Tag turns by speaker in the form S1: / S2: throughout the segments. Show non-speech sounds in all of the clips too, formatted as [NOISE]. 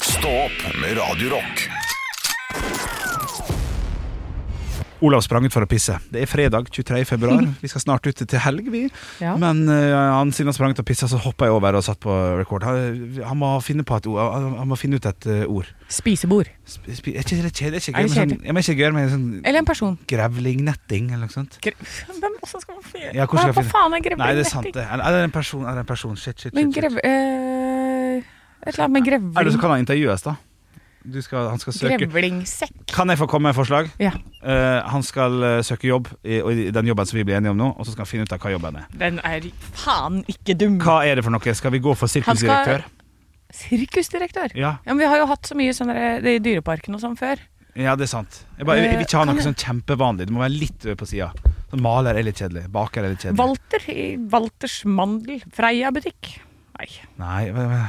S1: Stå opp med Radio Rock.
S2: Olav sprang ut for å pisse. Det er fredag 23.
S3: [LAUGHS]
S2: februar. Vi skal snart ut til helg, vi.
S4: Ja.
S2: Men eh, han siden han sprang ut og pissa, så hoppa jeg over og satt på record. Han, han, må, finne på et ord. Han, han må finne ut et eh, ord.
S3: Spisebord.
S2: Sp- sp- Er ikke det kjedelig? Er ikke gøy med
S3: Er det
S2: sånn, ja, men er ikke gøy med sånn
S3: Eller en person.
S2: grevlingnetting eller noe sånt?
S3: Gre- [LAUGHS] Hvem også skal man finne
S2: Ja, hvordan
S3: Hva
S2: skal jeg
S3: hva
S2: finne-
S3: faen er grevling?
S2: Nei, det er sant, det. Er, er det en person? Er det en person? Shit, shit,
S3: Men
S2: shit.
S3: grev...
S2: shit.
S3: eh, et eller annet med
S2: Er det så
S3: grevling.
S2: kan han intervjues, da? Du skal, han skal søke
S3: Grevlingsekk.
S2: Kan jeg få komme med et forslag?
S3: Ja.
S2: Eh, han skal eh, søke jobb i, og i den jobben som vi blir enige om nå, og så skal han finne ut av hva jobben er.
S3: Den er faen ikke dum.
S2: Hva er det for noe? Skal vi gå for
S3: Han skal-
S2: sirkusdirektør?
S3: Sirkusdirektør.
S2: Ja.
S3: Ja, men vi har jo hatt så mye sånne der- det i Dyreparken og sånn før.
S2: ja, det er sant. Jeg, bare, jeg vil ikke ha
S3: Eh,
S2: noe
S3: kan
S2: sånn kjempevanlig. Det må være litt ø på sida. Sånn maler er litt kjedelig. Baker er litt kjedelig.
S3: Walter i Walters Mandel. Freia butikk. Nei.
S2: Nei hva- hva-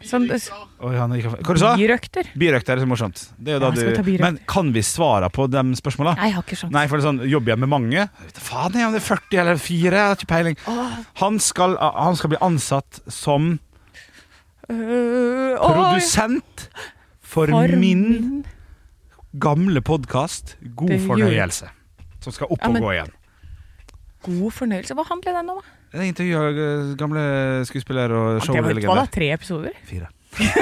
S3: Sånn,
S2: Oi, han gikk Hva du sa du?
S3: Birøkter.
S2: Birøkt er det så morsomt. Det er jo
S3: Ja,
S2: da
S3: skal vi ta
S2: du
S3: birøkt?
S2: Men kan vi svare på de spørsmåla?
S3: Nei, jeg har ikke sjans.
S2: Nei, for det er sånn, jobber jeg med mange? Jeg vet da Faen, jeg, om det er 40 eller 4, jeg har ikke peiling. Han skal, han skal bli ansatt som
S3: Øh, oi.
S2: produsent for,
S3: For
S2: min gamle podkast God
S3: Det gjør-
S2: fornøyelse. Som skal opp
S3: Ja,
S2: og
S3: men-
S2: gå igjen.
S3: God fornøyelse. Hva handler den om, da?
S2: Jeg intervjuer eh, gamle skuespiller og
S3: Det var, hva da?
S2: showlegender.
S3: Tre episoder?
S2: Fire. [LAUGHS]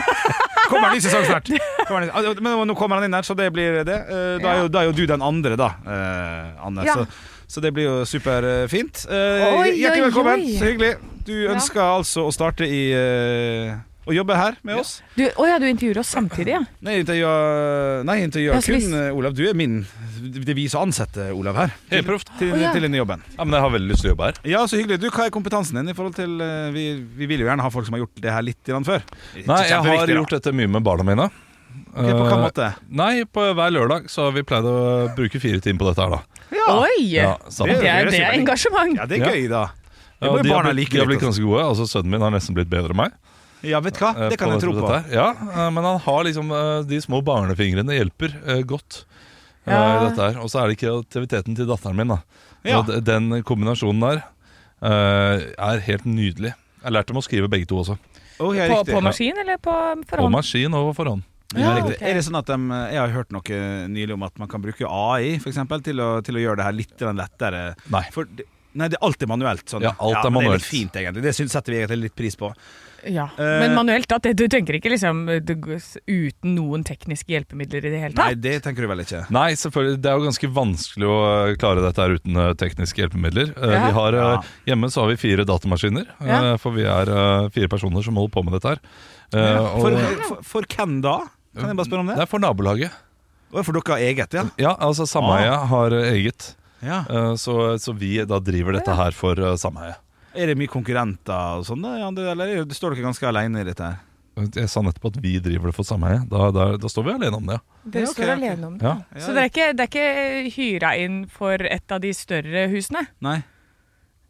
S2: kommer en ny sesong snart! Kommer en ny, Ah, men nå kommer han inn her, så det blir det. Eh, Da er jo, da er jo du den andre, da, eh, Anne.
S3: Ja.
S2: Så, så det blir jo superfint. Eh,
S3: Oi,
S2: Hjertelig
S3: oi,
S2: velkommen.
S3: oi.
S2: Så hyggelig. Du ønsker altså å starte i eh, Å jobbe her med oss?
S3: Du, å ja, du intervjuer oss samtidig,
S2: [LAUGHS]
S3: ja.
S2: Nei, jeg intervjuer, nei, jeg intervjuer
S3: Ja, så
S2: kun
S3: hvis-
S2: eh, Olav. Du er min Det er vi som ansetter Olav her.
S5: Helt proft.
S2: Til,
S3: Å, ja.
S2: til denne jobben.
S5: Ja, men jeg har veldig lyst til å jobbe her.
S2: Ja, så hyggelig. Du, Hva er kompetansen din? i forhold til eh, Vi, vi vil jo gjerne ha folk som har gjort det her litt grann før.
S5: Nei, jeg har gjort dette mye med barna mine.
S2: det På hva måte?
S5: Eh, Nei, på hver lørdag så har vi pleid å bruke fire timer på dette her, da.
S3: Oi!
S5: sammen.
S2: Det
S3: Det er,
S2: høres jo
S3: det er
S2: veldig-
S3: engasjement.
S2: Ja, det er
S5: Ja.
S2: gøy, da. Det
S5: Ja,
S2: må
S5: de
S2: jo
S5: har
S2: barna
S5: blitt,
S2: like
S5: de har blitt
S2: litt.
S5: ganske gode. altså Sønnen min har nesten blitt bedre enn meg.
S2: også. Ja, vet du hva?
S5: eh,
S2: Ah, Det kan jeg tro på.
S5: dette her. Ja, eh, Men han har liksom eh, de små barnefingrene hjelper eh, godt. eh,
S3: Ja.
S5: i dette her Og så er det kreativiteten til datteren min. da
S2: Ja.
S5: Og de- Den kombinasjonen der eh, er helt nydelig. Jeg lærte dem å skrive begge to også.
S2: Ok,
S3: På,
S2: riktig.
S3: på maskin eller på
S5: På
S3: forhånd?
S5: maskin og for hånd.
S2: Ja,
S3: Ja,
S2: riktig.
S3: ok.
S2: Er det sånn at de, Jeg har hørt noe nylig om at man kan bruke AI for eksempel, til, å, til å gjøre det her litt grann lettere.
S5: Nei.
S2: For, det- nei, det er alltid manuelt. Sånn.
S5: Ja, alt er
S2: men Det er
S5: manuelt.
S2: litt fint, egentlig. Det syns- setter vi egentlig litt pris på.
S3: Ja.
S2: Eh,
S3: Men manuelt, at det, du tenker ikke liksom du, uten noen tekniske hjelpemidler i det hele
S2: Nei,
S3: tatt?
S2: det tenker du vel ikke.
S5: Nei, selvfølgelig. Det er jo ganske vanskelig å eh, klare dette her uten eh, tekniske hjelpemidler. Eh,
S3: Ja.
S5: Vi har, eh,
S2: Ja.
S5: Hjemme så har vi fire datamaskiner, eh,
S3: Ja.
S5: for vi er eh, fire personer som holder på med dette her. Eh, og-
S2: For, for, for hvem da? Kan jeg bare spørre om
S5: Det
S2: det?
S5: er for nabolaget.
S2: Å, For dere har eget, ja?
S5: Ja, altså sameiet har eh, eget.
S2: ja.
S5: Eh, Så, så vi da driver dette her for eh, sameiet.
S2: Er det mye konkurrenter og sånn, da, i andre, eller er det- står dere ganske alene i dette her?
S5: Jeg sa nettopp at vi driver det for sameiet. Da, da, da står vi alene om det.
S3: Dere
S2: Ja, ok,
S3: står
S2: ok.
S3: alene om det.
S5: Ja.
S3: Så det er, ikke, det er ikke hyra inn for et av de større husene?
S2: Nei.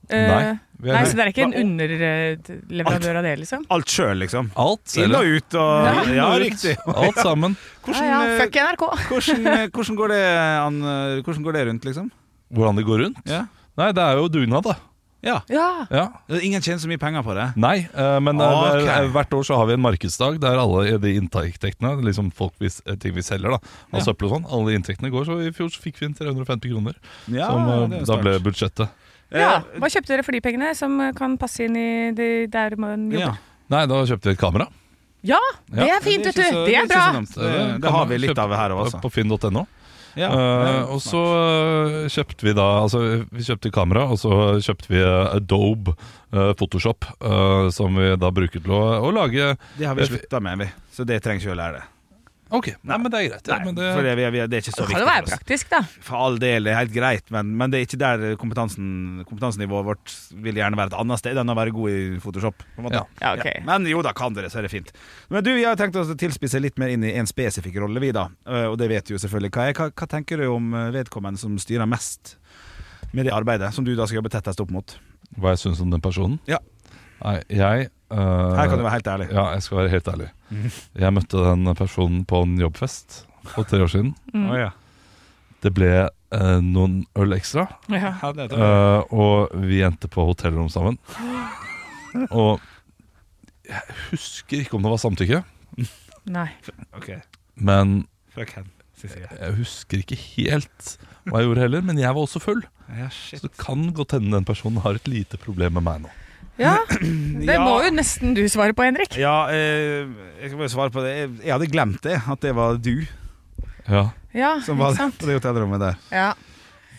S3: Eh,
S5: Nei, vi er-
S3: nei, så det er ikke en
S2: Hva-
S3: underleverandør av det, liksom?
S2: Alt sjøl, liksom?
S5: Alt
S2: Inn og
S5: selv.
S2: ut og
S5: Inn
S2: Ja,
S5: og ut.
S2: riktig. [LAUGHS]
S5: Alt sammen.
S2: Hvordan,
S3: ja, ja,
S2: eh,
S3: fuck NRK!
S2: hvordan, eh, hvordan, går det, an, eh, hvordan går det rundt, liksom?
S5: Hvordan det går rundt?
S2: Ja.
S5: Nei, det er jo dugnad, da.
S2: ja.
S3: Ja.
S5: Ja.
S2: Ingen tjener så mye penger på det.
S5: Nei, eh, men eh,
S2: Ok.
S5: det er, eh, hvert år så har vi en markedsdag der alle de inntektene, liksom folk vi, s- eh, ting vi selger, da, av
S2: Ja.
S5: søppel og sånn, alle inntektene går. Så i fjor så fikk vi inn 350 kroner,
S2: Ja,
S5: som eh,
S2: det er
S5: da
S2: start.
S5: ble budsjettet.
S3: ja.
S2: Eh,
S3: Hva kjøpte dere for de pengene, som kan passe inn i de der man
S2: ja.
S3: jobber?
S5: Nei, da kjøpte vi et kamera.
S3: Ja, det
S5: Ja.
S3: er fint,
S2: Det
S3: vet
S2: er ikke
S3: du!
S2: så-
S3: Det
S2: det er
S3: er
S2: ikke
S3: bra!
S2: så dumt. Eh,
S5: Eh,
S2: Det, det har vi litt av her også.
S5: På finn.no.
S2: Ja.
S5: Eh,
S2: det er
S5: og så eh, kjøpte vi da altså, Vi kjøpte kamera, og så kjøpte vi eh, Adobe eh, Photoshop, eh, som vi da bruker til å, å lage
S2: Det har vi slutta med, vi. Så det trenger ikke å lære det.
S5: Ok, nei, men det er greit. Ja,
S2: Nei,
S5: men det,
S2: for det, vi er- vi er- det er ikke så viktig
S3: Det kan jo være
S2: for oss.
S3: praktisk, da.
S2: For all del, det er helt greit, men, men det er ikke der kompetansen, kompetansenivået vårt vil gjerne være et annet sted enn å være god i Photoshop. På en måte.
S5: Ja.
S3: Ja, ok.
S2: Ja, Men jo da, kan dere, så er det fint. Men du, jeg har tenkt oss å tilspisse litt mer inn i en spesifikk rolle, vi da. Eh, Og det vet du jo selvfølgelig hva er. Hva, hva tenker du om eh, vedkommende som styrer mest med det arbeidet, som du da skal jobbe tettest opp mot?
S5: Hva jeg syns om den personen?
S2: Ja.
S5: Nei, jeg eh,
S2: Her kan du være Mhm. helt ærlig.
S5: Ja, jeg skal være helt ærlig. Jeg møtte den personen på en jobbfest for tre år siden.
S3: Mm.
S2: Å, ja.
S5: Det ble eh, noen øl ekstra,
S3: Ja.
S2: Ja, det er det.
S5: eh, og vi endte på hotellrom sammen. Og jeg husker ikke om det var samtykke,
S3: Nei.
S2: Ok,
S5: men
S2: fuck hen, sier jeg.
S5: jeg husker ikke helt hva jeg gjorde heller. Men jeg var også full,
S2: Ja, shit.
S5: så det kan godt hende den personen har et lite problem med meg nå.
S3: Ja,
S2: [LAUGHS]
S3: det må jo nesten du svare på, Henrik.
S2: Ja, eh, jeg skal bare svare på det. Jeg, jeg hadde glemt det, at det var du
S5: Ja.
S3: Ja,
S2: som var
S3: ikke sant?
S2: på det hotellrommet der.
S3: Ja.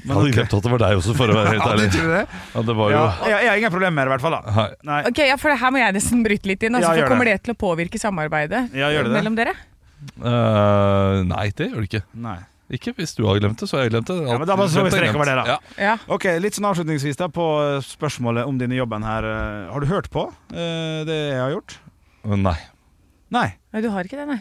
S5: Jeg hadde glemt at det var deg også, for å være helt
S2: Ja,
S5: ærlig.
S2: du tror det?
S5: Ja, det var jo
S2: Ja, jeg, jeg har ingen problemer med det, i hvert fall. da.
S5: Hei.
S2: Nei,
S3: Ok, ja, for Her må jeg nesten bryte litt inn. Altså,
S2: Ja, gjør
S3: for Kommer det
S2: det.
S3: til å påvirke samarbeidet
S2: Ja, gjør det det?
S3: mellom dere?
S5: Eh, nei, det gjør det ikke.
S2: nei.
S5: Ikke hvis du har glemt det, så har jeg glemt det.
S2: Ja, men da må vi slå en strek over det, da.
S5: Ja.
S3: Ja.
S2: Ok, Litt sånn avslutningsvis da på eh, spørsmålet om denne jobben her. Eh, Har du hørt på eh, det jeg har gjort?
S5: Eh, Nei.
S2: Nei.
S3: Nei, du har ikke det, nei.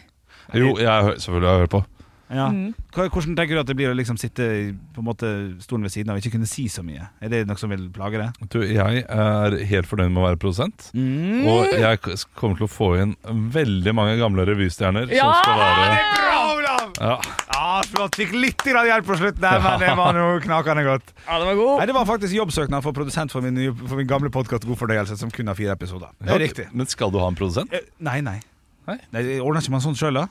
S5: Jo, jeg, hø- selvfølgelig har jeg hørt på.
S2: Ja.
S3: Mm.
S2: Hva, hvordan tenker du at det blir å liksom sitte i på en måte stolen ved siden av og ikke kunne si så mye? Er det noe som vil plage deg?
S5: Du, jeg er helt fornøyd med å være produsent.
S2: Mm.
S5: Og jeg k- kommer til å få inn veldig mange gamle revystjerner som
S2: Sånn
S3: Ja!
S5: skal være
S2: Bra, Olav!
S5: ja.
S2: Ja, Flott. Fikk litt grann hjelp på slutten, der, men det var noe knakende godt.
S3: Ja, det var god.
S2: Nei, Det var faktisk jobbsøknad for produsent for min, nye- for min gamle podkast God fordøyelse, som kun har fire episoder. Det er riktig.
S5: Men skal du ha en produsent?
S2: Eh, Nei, nei.
S5: Nei? Mm.
S2: nei jeg ordner ikke man sånt sjøl, da?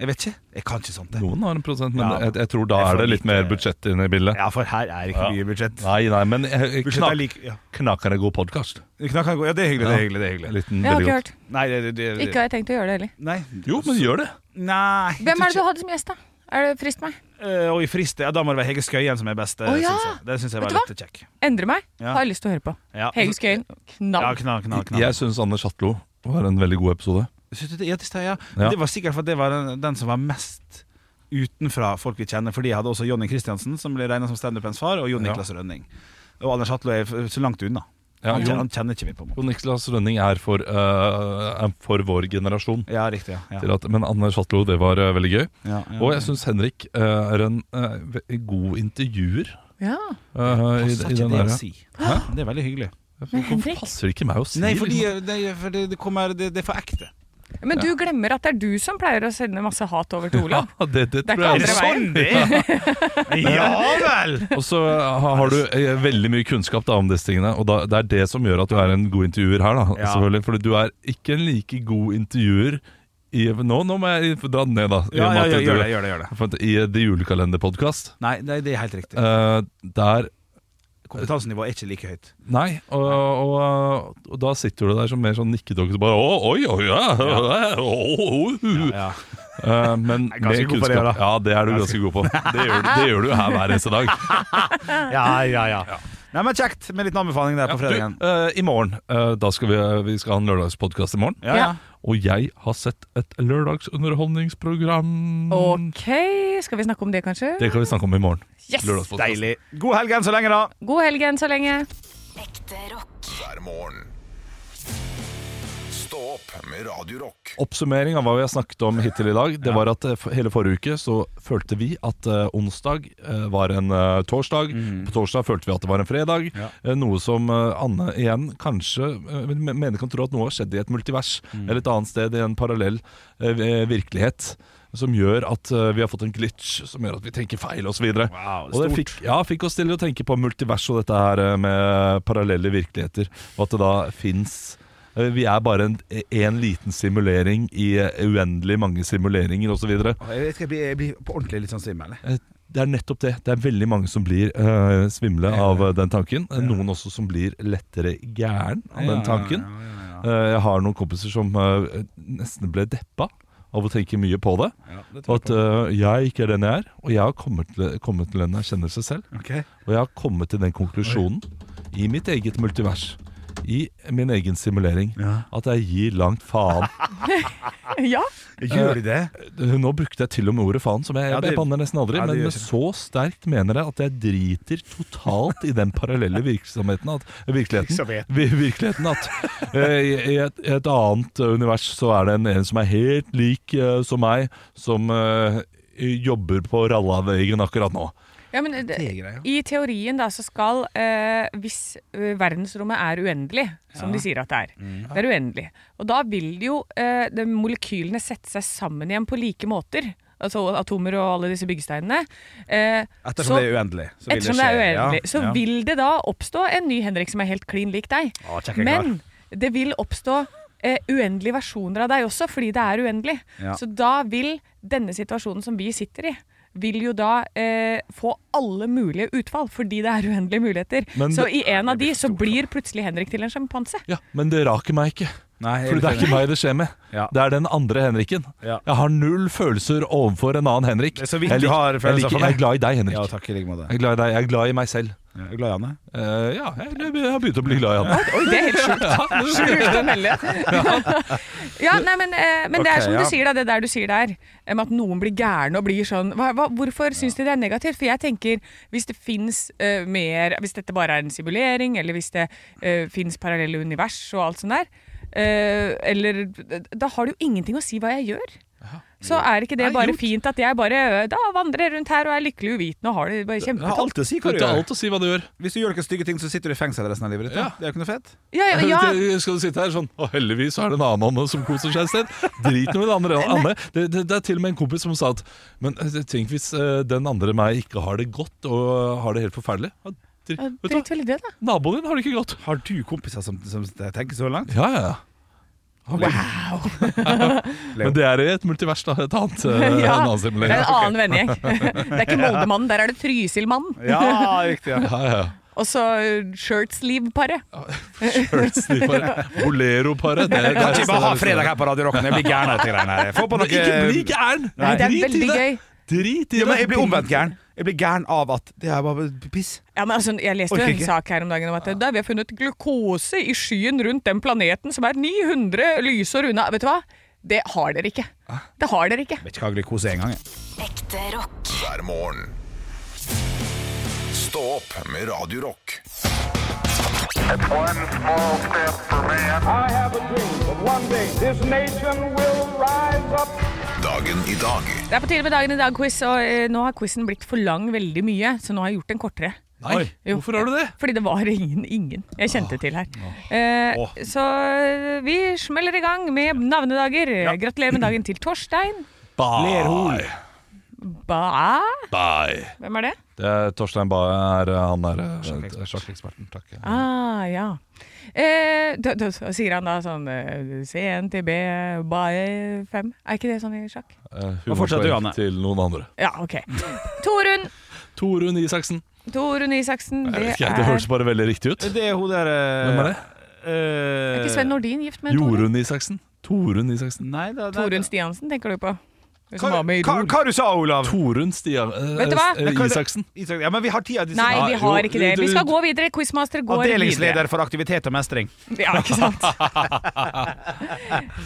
S2: Jeg vet ikke. Jeg kan ikke sånt. Jeg.
S5: Noen har en produsent, men
S2: Ja.
S5: jeg, jeg tror da
S2: Jeg får
S5: er det litt
S2: lite-
S5: mer budsjett inne i bildet.
S2: Ja, for her er ikke
S5: Ja.
S2: mye budsjett.
S5: Nei, nei, men eh,
S2: Budsjett er
S5: knak,
S2: like, ja.
S5: knakende god podkast.
S2: Knakk han god. Ja, det er hyggelig, det er hyggelig. Det er hyggelig.
S5: Liten,
S3: Jeg har
S5: veldig
S3: ikke
S5: godt.
S3: hørt.
S2: Nei, det, det, det,
S3: Ikke har jeg tenkt å gjøre det heller.
S2: Nei.
S5: Jo, men gjør det.
S2: Nei
S3: Hvem er det du hadde som gjest, da? Er det Frist meg.
S2: Eh, Og i frist, ja, da må det være Hege Skøyen som er best. eh,
S3: Å, ja.
S2: synes jeg. Det syns jeg var
S3: Vet du
S2: litt kjekk.
S3: Endre meg.
S2: Ja.
S3: Har jeg lyst til å høre på.
S2: Ja.
S3: Hege Skøyen.
S2: Ja,
S3: Knall.
S2: knall, knall, knall.
S5: Jeg syns Anders Hatlo var en veldig god episode.
S2: Synes du det, ja, det stemmer, ja.
S5: Ja.
S2: Det var sikkert for at det var den, den som var mest utenfra folk vi kjenner. Fordi jeg hadde også Jonny Christiansen, som ble regna som standupens far, og Jon
S5: Ja.
S2: Niklas Rønning. Og Anders Hatlo er f- så langt unna.
S5: Ja,
S2: Han,
S5: Jon-
S2: kjenner, han kjenner ikke vi på. en måte.
S5: Og Niklas Rønning er for, eh, er for vår generasjon.
S2: Ja, riktig. Ja.
S5: Til
S2: Ja.
S5: at, men Anders Hatlo, det var eh, veldig gøy.
S2: Ja, ja.
S5: Og jeg syns Henrik eh, er en eh, ve- god intervjuer.
S3: Ja.
S5: eh, i,
S2: Passer
S5: i
S2: ikke
S5: den
S2: det
S5: der.
S2: å si. Det er veldig hyggelig.
S3: Men
S5: Hvorfor
S3: Henrik-
S5: passer det ikke meg å si?
S2: Nei, fordi eh,
S5: liksom?
S2: nei, for det, det, kommer, det, det er for ekte.
S3: Men du glemmer at det er du som pleier å sende masse hat over til Olav.
S5: ja, det, det,
S3: Det er
S5: tror jeg
S3: ikke andre
S5: også.
S3: veien.
S2: det er? [LAUGHS] Ja vel!
S5: Og så ha- har du eh, veldig mye kunnskap da, om disse tingene, og da, det er det som gjør at du er en god intervjuer her. da,
S2: Ja.
S5: selvfølgelig. Fordi du er ikke en like god intervjuer i Nå, nå må jeg dra den ned, da. i
S2: Ja,
S5: og
S2: ja,
S5: med at
S2: ja,
S5: du-
S2: gjør det, gjør det, gjør det.
S5: For at I eh, The Julekalenderpodkast,
S2: Nei, nei, det er helt riktig.
S5: uh, der
S2: Kompetansenivået er ikke like høyt.
S5: Nei, og, og, og da sitter du der som mer sånn nikkedokke så bare Å, oi, oi, [LAUGHS] ja, ja. Å, å, å.
S2: Ja.
S5: Eh, Men
S2: Jeg er
S5: med
S2: ganske god på det,
S5: kunnskap
S2: da.
S5: Ja, det er du ganske god på. Det gjør, du- det gjør du her hver
S2: [LAUGHS]
S5: eneste dag.
S2: Ja, ja, ja. Nei, men Kjekt med liten anbefaling der på
S5: Du,
S2: fredagen.
S5: eh, I morgen eh, Da skal vi, vi skal ha en lørdagspodkast i morgen.
S2: Ja, ja.
S5: Og jeg har sett et lørdagsunderholdningsprogram.
S3: Ok, skal vi snakke om det, kanskje?
S5: Det kan vi snakke om i morgen.
S3: Yes!
S5: Lørdagspodkast.
S2: Deilig. God helg enn så lenge, da.
S3: God helg enn så lenge.
S6: Ekte rock.
S1: hver morgen. Stå opp med Radio Rock.
S5: Oppsummering av hva vi har snakket om hittil i dag, det var at eh, f- hele forrige uke så følte vi at eh, onsdag eh, var en eh, torsdag. På torsdag følte vi at det var en fredag. Eh, noe som eh, Anne igjen kanskje eh, men- men- mener kan tro at noe har skjedd i et multivers, eller et annet sted i en parallell eh, eh, virkelighet. Som gjør at eh, vi har fått en glitch, som gjør at vi tenker feil osv.
S2: Wow,
S5: Og det fikk, ja, fikk oss til å tenke på multivers og dette her eh, med parallelle virkeligheter. Og at det da fins Vi er bare en, en liten simulering i eh, uendelig mange simuleringer osv.
S2: Jeg, vet ikke, jeg, blir, jeg blir på ordentlig litt sånn svimmel. jeg.
S5: Det er nettopp det. Det er veldig mange som blir eh, svimle av eh, den tanken. Eh, Noen også som blir lettere gæren av den tanken.
S2: Ja, ja, ja, ja.
S5: Eh, Jeg har noen kompiser som eh, nesten ble deppa av å tenke mye på det.
S2: Ja, det
S5: Og
S2: tror jeg
S5: at eh, jeg ikke er den jeg er. Og jeg har kommet til, kommet til en erkjennelse selv.
S2: på. Ok.
S5: Og jeg har kommet til den konklusjonen i mitt eget multivers i min egen simulering
S2: Ja.
S5: at jeg gir langt
S2: [LAUGHS]
S5: faen.
S3: Ja,
S2: Gjør de det?
S5: Nå brukte jeg til og med ordet faen, som jeg,
S2: Ja, det-
S5: jeg banner nesten aldri.
S2: Ja, det
S5: men
S2: gjør
S5: med så sterkt mener jeg at jeg driter totalt i den parallelle virksomheten at, virkeligheten,
S2: Virksomhet.
S5: vi- virkeligheten at eh, i, i et, i et annet eh, univers så er det en, en som er helt lik eh, som meg, som eh, jobber på Rallavegen akkurat nå.
S3: ja men
S2: Det
S3: det,
S2: er greia.
S3: I teorien da så skal eh, Hvis eh, verdensrommet er uendelig, som de sier at det er
S2: Mm.
S3: Det er uendelig. Og da vil jo eh, de molekylene sette seg sammen igjen på like måter. Altså atomer og alle disse byggesteinene. Eh,
S2: Ettersom det er uendelig. så vil
S3: Ettersom det er
S2: skje. Ja,
S3: uendelig, så
S2: ja.
S3: vil det da oppstå en ny Henrik som er helt klin lik deg.
S2: Å, kjekk jeg
S3: Men det vil oppstå eh, uendelige versjoner av deg også, fordi det er uendelig.
S2: Ja.
S3: Så da vil denne situasjonen som vi sitter i, vil jo da eh, få alle mulige utfall, fordi det er uendelige muligheter.
S5: Men
S3: så
S5: det-
S3: i en av de så blir plutselig Henrik til en sjampanse.
S5: Ja, Men det raker meg ikke.
S2: Nei, jeg
S5: For det er ikke meg det skjer med.
S2: Ja.
S5: Det er den andre Henriken.
S2: Ja.
S5: Jeg har null følelser overfor en annen Henrik.
S2: Det er så vidt
S5: jeg,
S2: du
S5: lik-
S2: har
S5: jeg,
S2: følelser
S5: liker-
S2: for meg. sånn,
S5: jeg er glad i deg, Henrik.
S2: Ja, takk i like måte.
S5: Jeg er glad i deg, jeg er glad i meg selv.
S2: Jeg er glad i Anne.
S5: Eh, ja, jeg, jeg har begynt å bli glad i
S2: [LAUGHS]
S5: han.
S3: Oi, det er helt sjukt. Sjukt å melde. Ja, nei, men, eh, men det er
S2: Ok,
S3: som
S2: ja.
S3: du sier, da, det der du sier der, eh, med at noen blir gærne og blir sånn hva, hva, Hvorfor syns de det er negativt? For jeg tenker, hvis det fins eh, mer Hvis dette bare er en simulering, eller hvis det eh, fins parallelle univers og alt sånt der, eh, eller Da har det jo ingenting å si hva jeg gjør. Så er ikke det
S5: Nei,
S3: bare
S5: gjort.
S3: fint at jeg bare eh, da vandrer rundt her og er lykkelig uvitende og har det bare
S2: Det har
S3: kjempetopp?
S2: alt å si hva
S5: Det
S2: du
S5: er
S2: gjør.
S5: alt å si hva du gjør.
S2: Hvis du gjør noen stygge ting, så sitter du i fengsel resten av livet ditt. da.
S5: Ja.
S2: Det er jo ikke noe fett.
S3: Ja, ja,
S5: [LAUGHS]
S3: ja.
S5: Skal du sitte her sånn Å, heldigvis er det en annen Anne som koser seg et sted. Drit nå i den andre
S3: [LAUGHS]
S5: Anne. Det, det, det er til og med en kompis som sa at Men eh, tenk hvis eh, den andre meg ikke har det godt og har det helt forferdelig. Ja, dri-
S3: Ja,
S5: Vet du hva,
S3: Drit vel i det, da.
S5: naboen din har det ikke godt.
S2: Har du kompiser som, som tenker så langt?
S5: Ja, ja, ja. Han blir- [LAUGHS] Men det er i et multivers, da. Et
S2: [LAUGHS]
S5: annet, eh, en
S3: Ja.
S5: annen
S3: Det er
S5: simulering.
S3: en annen [LAUGHS] vennegjeng. Det er ikke Moldemannen, der er det Trysilmannen.
S2: Ja, riktig. [LAUGHS] Ja.
S5: Ja, ja.
S3: Og så shirtsleeve-paret.
S5: Shirtsnippere. Bolero-paret. det- det er- sånn-
S2: Kan ikke bare ha fredag her på Radio Rock når jeg blir gæren av dette greiene her. Få på
S5: Men
S2: noe
S5: ikke bli gæren!
S3: Nei, det er
S5: Drit i
S3: veldig gøy.
S5: Drit i
S2: ja,
S5: det.
S2: men Jeg blir omvendt gæren. Jeg blir gæren av at det er bare piss.
S3: Ja, men altså, jeg leste jo
S2: Orker
S3: en
S2: ikke.
S3: sak her om dagen om at da, vi har funnet glukose i skyen rundt den planeten som er 900 lysår unna. Vet du hva? Det har dere ikke. Det har dere ikke.
S2: Jeg vet ikke hva glukose er engang. jeg.
S6: Ekte rock.
S1: hver morgen. Stå opp med Radio Rock.
S7: One small step for man. I have a dream that one day this nation will rise up.
S1: Dagen i dag
S3: Det er på tide med Dagen i dag-quiz, og eh, nå har quizen blitt for lang veldig mye, så nå har jeg gjort den kortere.
S5: Nei,
S3: Jo.
S5: hvorfor har du det? Ah,
S3: Fordi det var ingen ingen jeg kjente til her. Eh, så eh, vi smeller i gang med navnedager. Gratulerer med dagen til Torstein.
S5: Bye.
S2: Lerhol.
S3: Ba
S5: Bye.
S3: Hvem er det?
S5: Det er Torstein Bae er eh, han der
S2: Sjakkeksperten.
S5: sjakkeksperten. Takk.
S3: Ah, ja. Eh, da, da, så sier han da sånn eh, CNTB BAE 5. Er ikke det sånn i sjakk?
S5: Eh,
S2: Og fortsetter du, Anne.
S5: Humorpoeng til noen andre.
S3: Ja, OK.
S5: [LAUGHS]
S3: Torunn.
S5: Torunn Isaksen.
S3: Torunn Isaksen.
S5: Jeg
S3: Det
S5: vet ikke, Det
S3: er
S5: høres bare veldig riktig ut.
S2: Det er hun der eh,
S5: Hvem er det?
S2: eh,
S3: Er ikke Sven Nordin gift med en Torunn?
S5: Jorunn Isaksen. Torunn Isaksen.
S2: Nei, da, da,
S3: Torunn Stiansen tenker du på? Hun Som
S2: hva,
S3: var med i
S2: hva,
S3: Idol.
S2: hva du sa Olav?
S5: Torunn Stian... eh,
S3: Vet du hva?
S5: eh, Isaksen.
S2: Isak- Ja, men vi har tida til
S3: Nei, vi har
S5: jo,
S3: ikke det. Vi
S5: du-
S3: skal gå videre. Quizmaster går videre.
S2: Avdelingsleder for aktivitet og mestring.
S3: [LAUGHS] Ja,
S2: [LAUGHS]
S3: ikke sant?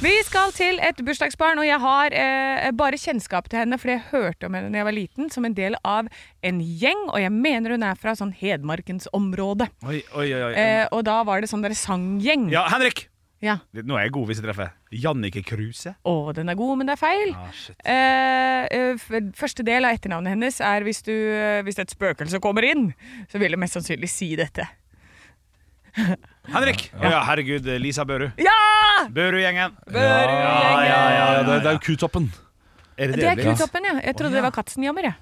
S3: Vi skal til et bursdagsbarn, og jeg har eh, bare kjennskap til henne, for jeg hørte om henne da jeg var liten, som en del av en gjeng, og jeg mener hun er fra sånn Hedmarkens område.
S2: Oi, oi, oi, oi.
S3: Eh, og da var det sånn der sanggjeng.
S2: Ja, Henrik!
S3: Ja.
S2: Nå er jeg god hvis jeg treffer. Jannicke Kruse.
S3: Å, den er god, men det er feil.
S2: Ah, shit.
S3: Eh, eh, f- første del av etternavnet hennes er hvis, du, eh, hvis et spøkelse kommer inn, så vil det mest sannsynlig si dette.
S2: Henrik! Ja, herregud, Lisa Børu.
S3: Ja!
S2: Børu-gjengen.
S3: Børu-gjengen.
S2: Ja, ja,
S5: Ja,
S2: ja,
S5: Eh, det, det er jo Q-toppen.
S2: Er
S3: Det er
S2: blir?
S3: Knutoppen, ja. Jeg trodde det var Katzenjammer, jeg.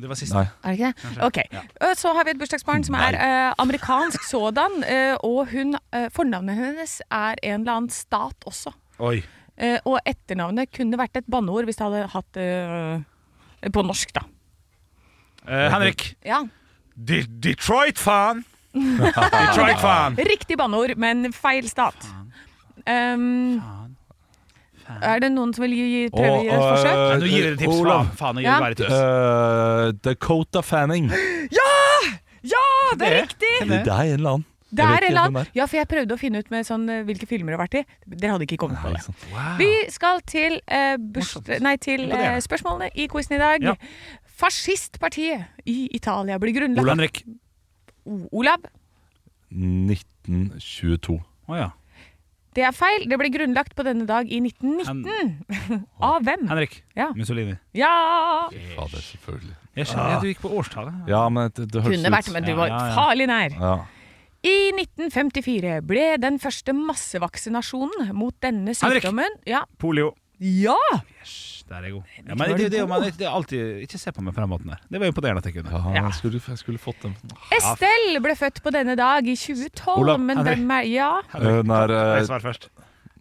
S2: Det var siste.
S5: Nei.
S3: Er det ikke det? Ok. Og Så har vi et bursdagsbarn som er eh, amerikansk sådan, eh, og hun, eh, fornavnet hennes er en eller annen stat også.
S2: Oi.
S3: Eh, og etternavnet kunne vært et banneord hvis det hadde hatt eh, på norsk, da.
S2: Eh, Henrik.
S3: Ja.
S2: De [LAUGHS] Detroit-fan. Detroit-fan.
S3: Riktig banneord, men feil stat. Um, er det noen som vil gi, gi- prøve å gi et
S5: Og,
S3: forsøk?
S5: eh,
S2: Nå gir dere tips,
S5: Olav.
S2: faen. Faen, nå gir
S3: Ja.
S2: det bare tips.
S5: Eh, Dakota Fanning.
S3: Ja! Det er
S2: det?
S3: riktig!
S5: Det er en eller annen.
S3: Det
S5: vet
S3: er
S5: ikke
S3: en eller
S5: hvem det
S3: annen. Ja, for jeg prøvde å finne ut med sånn, eh, hvilke filmer det har vært i. Dere hadde ikke kommet på
S5: Nei,
S3: det.
S5: ikke sant.
S2: Eh,
S3: Vi skal til, eh, burs- nei, til eh, spørsmålene i quizen i dag.
S2: Ja.
S3: Fascistpartiet i Italia blir grunnlagt
S2: Ole Henrik.
S3: O- Olav,
S5: 1922.
S2: Å ja.
S3: det er feil. Det ble grunnlagt på denne dag i 1919. [LAUGHS] Av hvem?
S2: Henrik.
S3: Ja.
S2: Mussolini.
S3: Ja!
S5: Fader, selvfølgelig.
S2: Jeg skjønner at du gikk på årstallet.
S5: Ja, men det, det høres
S4: Kunne vært,
S5: ut
S4: men du
S2: Ja,
S4: var
S2: ja, ja.
S3: Farlig nær.
S5: ja.
S3: I 1954 ble den første massevaksinasjonen mot denne
S2: Henrik!
S3: sykdommen Ja!
S2: Polio.
S3: ja.
S2: Yes, der er jeg god. Ja, men det, det, det, man, det, er alltid, ikke se på meg på den måten der. Det var imponerende at jeg kunne.
S5: Ja,
S3: Ja.
S5: Jeg, skulle, jeg skulle fått dem.
S3: Estelle ble født på denne dag i 2012,
S5: Olav,
S3: men
S2: Henrik.
S3: hvem er Ja.
S5: Eh, den er, eh,
S2: Jeg svarer først.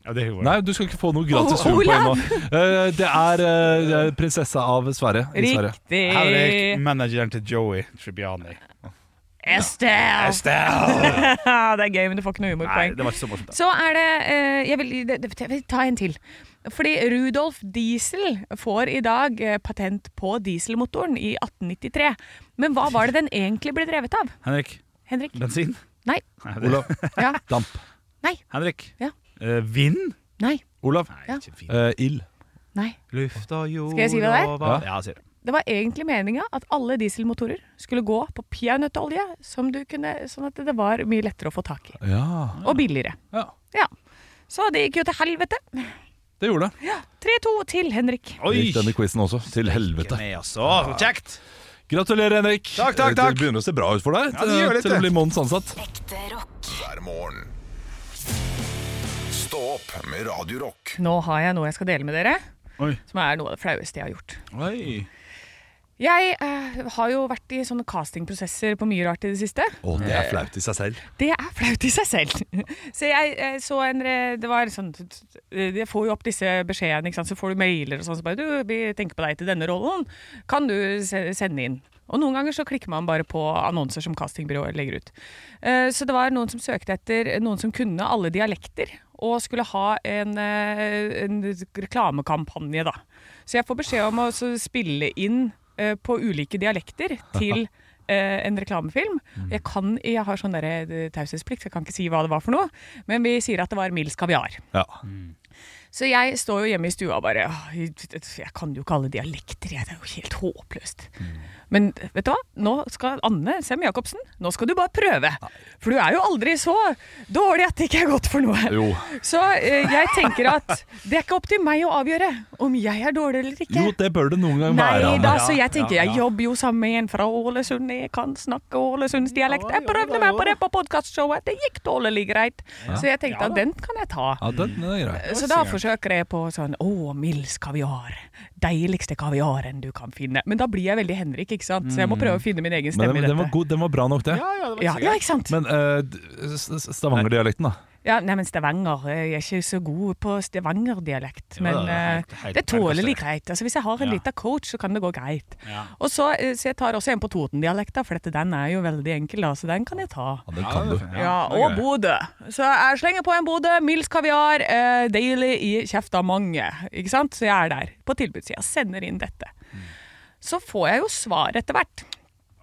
S2: Ja, det er jo
S5: nei, du skal ikke få noe gratis
S3: O-
S5: humor
S3: Olav!
S5: nå. Eh, det er eh, prinsesse av Sverige. i Sverige.
S3: Riktig.
S2: manageren til Joey Tribbiani. [LAUGHS]
S3: Estelle!
S2: Estelle!
S3: Ja, det er gøy, men du får ikke noe
S2: Nei,
S3: humorpoeng.
S2: det var ikke så morsomt. da.
S3: Så er det, eh, jeg, vil, det, det, jeg vil ta en til. Fordi Rudolf Diesel får i dag eh, patent på dieselmotoren i 1893. Men hva var det den egentlig ble drevet av?
S2: Henrik.
S3: Henrik?
S2: Bensin?
S3: Nei.
S2: Nei, det-
S5: Olav.
S3: Ja.
S5: Damp.
S2: Henrik.
S3: Ja.
S2: Eh, vind?
S3: Nei.
S5: Olav.
S3: Ja.
S2: Nei, ikke vind.
S5: Eh, ild.
S3: Nei.
S2: Luft og jord
S3: Skal jeg si det der?
S2: og vann. Ja, sier det.
S3: Det var egentlig meninga at alle dieselmotorer skulle gå på peanøttolje, som du kunne- sånn at det var mye lettere å få tak i.
S5: Ja,
S3: Og billigere.
S2: Ja.
S3: ja. Så det gikk jo til helvete.
S5: det gjorde det.
S3: 3-2 til Henrik.
S5: Det
S2: Oi!
S5: gikk denne quizen også. Til helvete.
S2: Med, altså. Kjekt!
S5: Gratulerer, Henrik.
S2: Takk, takk, takk.
S5: Det begynner å se bra ut for deg
S2: Ja, det gjør
S5: eh,
S2: litt,
S5: til å
S2: det.
S5: bli månedens ansatt.
S1: hver morgen. Stå opp med Radio Rock.
S3: Nå har jeg noe jeg skal dele med dere,
S2: Oi.
S3: som er noe av det flaueste jeg har gjort.
S2: Oi.
S3: Jeg eh, har jo vært i sånne castingprosesser på mye rart i det siste.
S5: Å, det er flaut i seg selv.
S3: Det er flaut i seg selv. [LAUGHS] Så jeg eh, så en re- Det var sånn eh, Jeg får jo opp disse beskjedene, ikke sant. Så får du mailer og sånn. Så bare du, vi tenker på deg til denne rollen. Kan du se- sende inn? Og noen ganger så klikker man bare på annonser som castingbyrået legger ut. Eh, Så det var noen som søkte etter noen som kunne alle dialekter. Og skulle ha en, eh, en reklamekampanje, da. Så jeg får beskjed om å så spille inn eh, på ulike dialekter
S5: [LAUGHS]
S3: til eh, en reklamefilm.
S5: Mm.
S3: Jeg, kan, jeg har sånn derre, eh, taushetsplikt, så jeg kan ikke si hva det var for noe. Men vi sier at det var Mils kaviar.
S5: Ja.
S3: Så jeg står jo hjemme i stua og bare «Åh, Jeg kan jo ikke alle dialekter, jeg. Det er jo helt håpløst.
S5: Mm.
S3: Men vet du hva? Nå skal Anne Sem Jacobsen, nå skal du bare prøve. For du er jo aldri så dårlig at det ikke er godt for noe.
S5: Jo.
S3: Så eh, jeg tenker at det er ikke opp til meg å avgjøre om jeg er dårlig eller ikke.
S5: Jo, det bør det noen gang være.
S3: Nei
S5: Anne.
S3: da,
S2: Ja,
S3: så jeg tenker
S2: ja,
S3: jeg
S2: ja.
S3: jobber jo sammen med en fra Ålesund. Jeg kan snakke Ålesundsdialekt. Jeg prøvde meg på det på podkastshowet, det gikk dårlig greit. Så jeg tenkte at den kan jeg ta.
S5: Ja, den, den er grei.
S3: Så da forsøker jeg på sånn Å, Mills kaviar. Deiligste kaviaren du kan finne. Men da blir jeg veldig Henrik, ikke sant? Så jeg må prøve å finne min egen
S5: Mm. Men
S3: stemme
S5: den,
S3: i
S5: den, var
S3: dette.
S5: god, den var bra nok, det.
S3: Ja, ja, ikke sant?
S5: Men eh, d- s- s- Stavanger-dialekten, da.
S3: Ja, nei, men Stavanger eh, Jeg er ikke så god på Stavanger-dialekt, men
S2: det er helt-
S3: eh,
S2: helt
S3: det tåler
S2: perfekt.
S3: litt greit. Altså, hvis jeg har en
S2: Ja.
S3: liten coach, så kan det gå greit.
S2: Ja.
S3: Og så, eh, så jeg tar også en på Toten-dialekta, for dette, den er jo veldig enkel, da, så den kan jeg ta.
S5: Ja, den kan du.
S3: Ja, og Bodø. Så jeg slenger på en Bodø, Mils kaviar, eh, deilig i kjeft av mange. Ikke sant? Så jeg er der på tilbudssida, sender inn dette.
S2: Mm.
S3: Så får jeg jo svar etter hvert.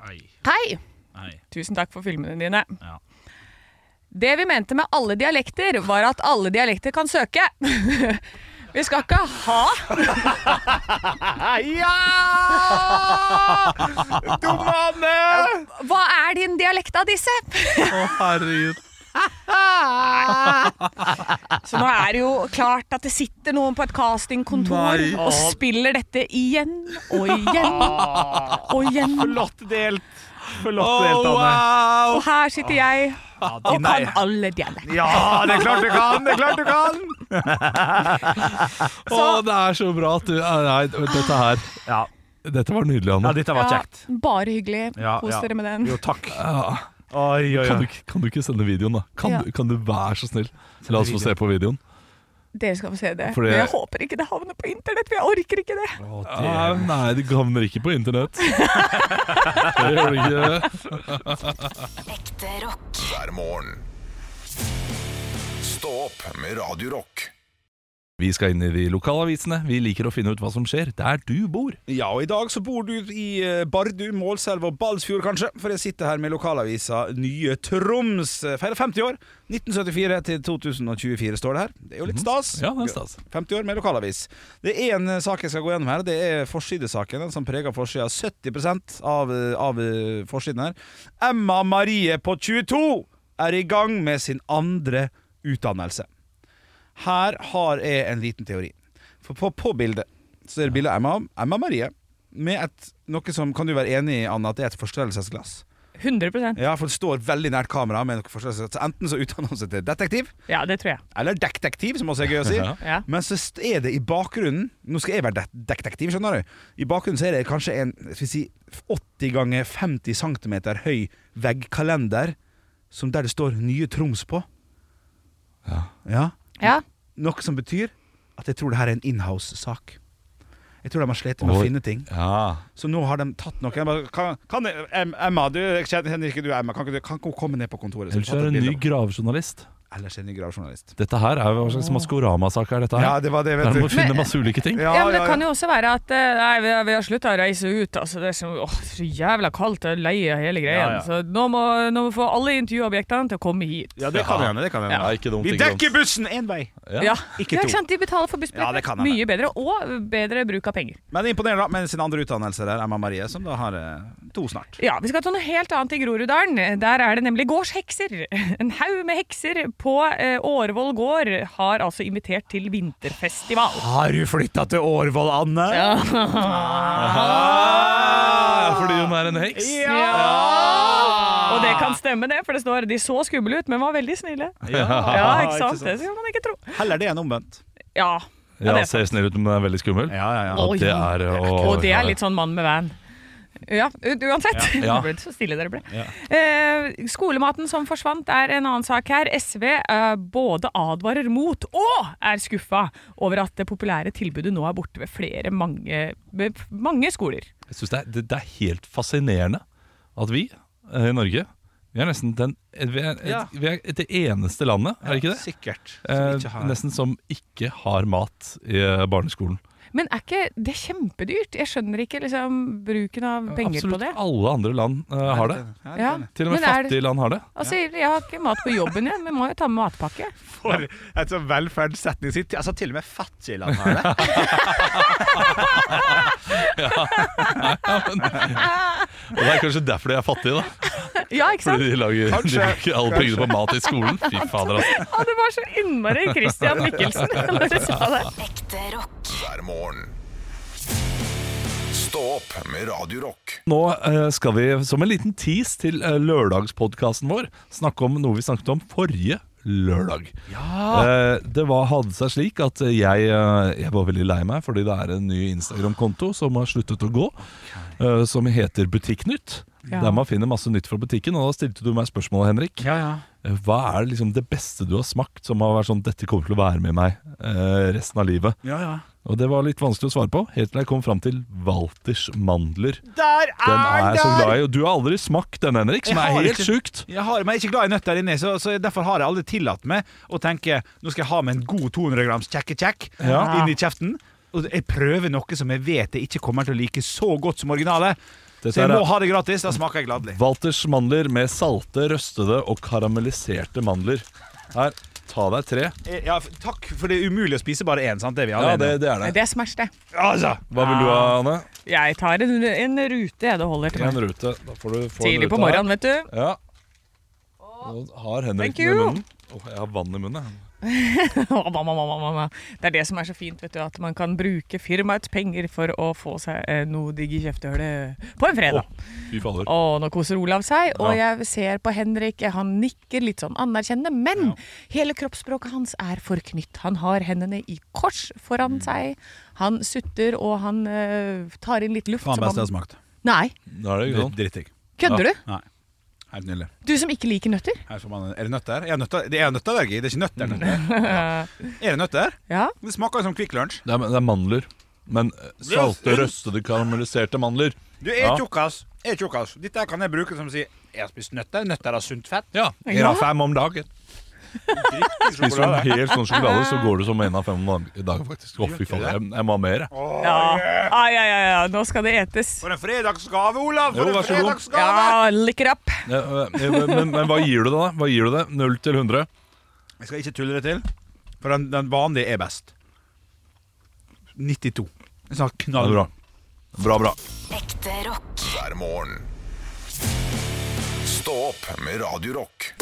S2: Nei.
S3: Hei,
S2: Nei.
S3: tusen takk for filmene dine.
S2: Ja.
S3: Det vi mente med alle dialekter, var at alle dialekter kan søke. [LAUGHS] Vi skal ikke
S2: [LAUGHS]
S3: ha
S2: Ja! Dumme Anne!
S3: Hva er din dialekt av disse? [LAUGHS]
S2: Å, herregud.
S3: Så nå er det jo klart at det sitter noen på et castingkontor
S2: Nei.
S3: og spiller dette igjen og igjen
S2: Ah.
S3: og igjen.
S2: Flott delt. Flott
S5: Å,
S2: delt, Anne.
S3: Og her sitter jeg
S2: Ja,
S3: og
S2: din er-
S3: kan alle dialekter.
S2: Ja, det er klart du kan! Det er klart du kan!
S5: Å, det er så bra at du eh, Nei, dette her
S2: Ja,
S5: Dette var nydelig, Anne.
S2: dette var kjekt.
S3: Bare hyggelig.
S2: Ja,
S3: Kos
S2: ja.
S3: dere med den.
S2: Jo, takk.
S5: Ja.
S2: Oi, oi,
S5: Kan
S2: oi.
S5: du, kan du ikke sende videoen, da? Kan,
S3: Ja.
S5: du, kan du være så snill? La oss få se på videoen.
S3: Dere skal få se det.
S5: Fordi-
S3: Men jeg håper ikke det havner på internett, for jeg orker ikke det.
S5: Ah, nei, det havner ikke på internett. Det gjør det ikke.
S1: hver morgen. Stå opp med Radio Rock.
S5: Vi skal inn i de lokalavisene. Vi liker å finne ut hva som skjer der du bor.
S2: Ja, og i dag så bor du i eh, Bardu, Målselv og Balsfjord, kanskje. For jeg sitter her med lokalavisa Nye Troms. Eh, Feirer 50 år. 1974 til 2024, står det her. Det er jo litt stas.
S5: Mhm. Ja, det er stas.
S2: 50 år med lokalavis. Det er én eh, sak jeg skal gå gjennom her. Det er forsidesaken. Den som preger forsida 70 av, eh, av eh, forsiden her. Emma Marie på 22 er i gang med sin andre utdannelse. Her har jeg en liten teori. For på, på bildet så er det bilde av Emma, Emma Marie med et, noe som Kan du være enig i, Anna, at det er et forstørrelsesglass?
S3: 100
S2: Ja, for det står veldig nært kamera med noe forstørrelsesglass. Så Enten så utdanner hun seg til detektiv,
S3: Ja, det tror jeg.
S2: eller detektiv, som også er gøy å si.
S5: [LAUGHS] Ja.
S3: Ja.
S2: Men så st- er det i bakgrunnen Nå skal jeg være dek- detektiv, skjønner du. I bakgrunnen så er det kanskje en skal vi si, 80 ganger 50 cm høy veggkalender som der det står Nye Troms på. Ja.
S3: Ja.
S2: Noe som betyr at jeg tror det her er en inhouse-sak. Jeg tror de har slitt med å
S5: Oi.
S2: finne ting.
S5: Ja,
S2: Så nå har de tatt noen. Jeg bare, Kan, kan jeg, Em- Emma, du, jeg kjenner ikke du Emma. Kan ikke du kan ikke hun komme ned på kontoret? så
S5: Ellers
S2: vi
S5: er
S2: tar et
S5: det en
S2: bilde
S5: ny
S2: av-
S5: gravejournalist.
S2: Ellers er det en ny gravjournalist.
S5: Dette her er jo hva slags Maskorama-sak er dette her?
S2: Ja, det var det,
S5: Der
S2: vet
S5: må
S2: du.
S5: vi finne
S3: Men-
S5: masse ulike ting.
S3: Ja, men det kan jo også være at eh, Nei, vi, vi har slutta å reise ut. Altså, det er så, åh, så jævla kaldt og lei av hele greia.
S2: Ja, ja.
S3: Så nå må, nå må vi få alle intervjuobjektene til å komme hit.
S2: Ja, det kan hende. det kan hende.
S5: Ja, ikke dumt,
S2: Vi
S5: ikke
S2: dekker bussen én vei!
S5: Ja.
S2: Ikke
S3: Ja,
S2: to.
S3: ikke sant? De betaler for
S2: Ja, det
S3: bussbilletter.
S2: kan hende.
S3: Mye bedre. Og bedre bruk av penger.
S2: Men imponerende da, med sin andre utdannelse der, Emma Marie, som da har eh, to snart.
S3: Ja, Vi skal til noe helt annet i Groruddalen. Der er det nemlig gårdshekser. En haug med hekser på eh, Årvoll gård har altså invitert til vinterfestival.
S2: Har du flytta til Årvoll, Anne? Ja.
S5: Ja, fordi hun er en heks.
S3: Og det kan stemme, det, for det står de så skumle ut, men var veldig snille.
S5: [LAUGHS]
S3: Ja, ikke sant? Det skal man ikke tro.
S2: Heller det enn omvendt.
S3: Ja.
S5: Ja,
S3: det er
S5: ser snill ut, men er veldig skummel.
S2: Ja, ja, ja.
S3: Oi.
S5: Det er,
S3: Og det er litt sånn mann med van. Ja, u- uansett. [LAUGHS]
S5: Ja.
S3: Det ble så stille dere ble. Eh, skolematen som forsvant er en annen sak her. SV eh, både advarer mot og er skuffa over at det populære tilbudet nå er borte ved flere mange, ved f- mange skoler.
S5: Jeg synes det, er, det, det er helt fascinerende at vi eh, i Norge Vi er nesten den, vi er,
S2: Ja.
S5: vi er det eneste landet, er det ikke det?
S2: Sikkert. Som ikke
S5: Eh,
S2: har.
S5: nesten som ikke har mat i eh, barneskolen.
S3: Men er ikke det kjempedyrt? Jeg skjønner ikke liksom, bruken av penger
S5: Absolutt
S3: på det.
S5: alle andre land eh, har det.
S2: Ja,
S3: Ja.
S2: kan jeg.
S5: Til og med
S3: Men er det-
S5: fattige land har det.
S3: Altså, Jeg har ikke mat på jobben igjen, men må jo ta med matpakke.
S5: [LAUGHS]
S2: For et sånn velferdssetning sitt. Altså, til og med fattigland har det.
S5: [LAUGHS] Og det er kanskje derfor de er
S3: [LAUGHS]
S5: fattige, da.
S3: Ja, ikke sant?
S5: Fordi de lager de
S2: Kanskje.
S5: bruker alle pengene på mat i skolen. Fy fader, altså.
S3: Ja, det var så innmari Christian
S5: [LAUGHS]
S3: Mikkelsen når du sa det.
S6: Ekte rock.
S1: hver morgen. Stå opp med Radio Rock.
S5: Nå eh, skal vi som en liten tease til eh, lørdagspodkasten vår snakke om noe vi snakket om forrige lørdag. Eh, det var, hadde seg slik at jeg, eh, jeg var veldig lei meg fordi det er en ny Instagram-konto som har sluttet å gå, eh, som heter Butikknytt.
S3: Ja.
S5: Der man finner masse nytt fra butikken. Og da stilte du meg spørsmålet, Henrik.
S2: Ja, ja.
S5: Eh, Hva er liksom det beste du har smakt som har vært sånn 'dette kommer til å være med meg eh, resten av livet'?
S2: ja, ja.
S5: Og det var litt vanskelig å svare på, helt til jeg kom fram til Walters mandler.
S2: Der er
S5: Den er jeg så
S2: der!
S5: glad i. Og du har aldri smakt den, Henrik, som
S2: Jeg
S5: er
S2: har
S5: helt
S2: ikke-
S5: sjukt.
S2: Jeg har meg ikke glad i nøtter inni, så, så derfor har jeg aldri tillatt meg å tenke nå skal jeg ha med en god 200 grams kjekke-kjekk
S5: Ja.
S2: inn i kjeften. Og jeg prøver noe som jeg vet jeg ikke kommer til å like så godt som originale.
S5: Dette
S2: Så jeg
S5: er-
S2: må ha det gratis. Da smaker jeg gladelig.
S5: Walters mandler med salte, røstede og karamelliserte mandler. Her, ta deg tre.
S2: Eh, Ja, f- takk, for det er umulig å spise bare én, sant? Det er vi
S5: Ja,
S2: alle
S5: det,
S2: enige om.
S5: det er det.
S3: Det er smash, det.
S2: Altså,
S5: Hva vil du ha, Anne?
S3: Jeg tar en, en rute, jeg. Det holder til
S5: En
S3: meg.
S5: rute. Da får du få en
S3: Tidlig
S5: rute
S3: på
S5: her.
S3: morgenen, vet du. [LAUGHS]
S5: Ja. Nå har Henrik
S3: Thank
S5: noe i
S3: you.
S5: munnen. Åh, jeg har vann i munnen. jeg.
S3: Det er det som er så fint, vet du. At man kan bruke firmaets penger for å få seg eh, noe digg i kjeftehullet på en fredag.
S5: Fy fader.
S3: Å, nå koser Olav seg, og jeg ser på Henrik. Han nikker litt sånn anerkjennende, men hele kroppsspråket hans er forknytt. Han har hendene i kors foran
S2: Mm.
S3: seg. Han sutter, og han eh, tar inn litt luft.
S2: faen
S3: som
S2: best jeg
S3: han-
S2: har smakt.
S3: Nei,
S5: Da er det ikke
S2: Dritt-
S5: sånn.
S2: Drittdigg.
S3: kødder du?
S2: Nei. Helt nydelig.
S3: Du som ikke liker nøtter?
S2: Her får man, er det nøtter? Jeg er nøtter? Det er nøtteallergi, det er ikke nøtter.
S3: Mm. [LAUGHS]
S2: nøtter. Ja. Er det nøtter?
S3: Ja.
S2: Det smaker jo som Kvikk Lunsj.
S5: Det er, det er mandler. Men eh, salte, røstede, karamelliserte mandler.
S2: Du er
S5: Ja.
S2: tjukkas. Er tjukkas. Dette her kan jeg bruke som å si Jeg har spist nøtter. Nøtter har sunt fett.
S5: Ja.
S3: Ja.
S5: fem om dagen. Spiser du en hel sånn sjokolade, så går du som en av fem dager, faktisk. Å, fy faen, jeg, jeg må ha mer. jeg.
S3: Ja. Ah, ja, ja, ja, nå skal det etes.
S2: For en fredagsgave, Olav!
S5: Jo, vær så god.
S3: Ja, lick it up.
S5: Ja, eh, Men, men hva gir du det, da? Hva gir du det? 0 til 100?
S2: Jeg skal ikke tulle det til, for den, den vanlige er best. 92. Det er snart
S5: Ja, det er
S2: knallbra.
S5: bra. Bra, bra.
S6: Ekte rock.
S1: hver morgen. Stå opp med Radio Rock.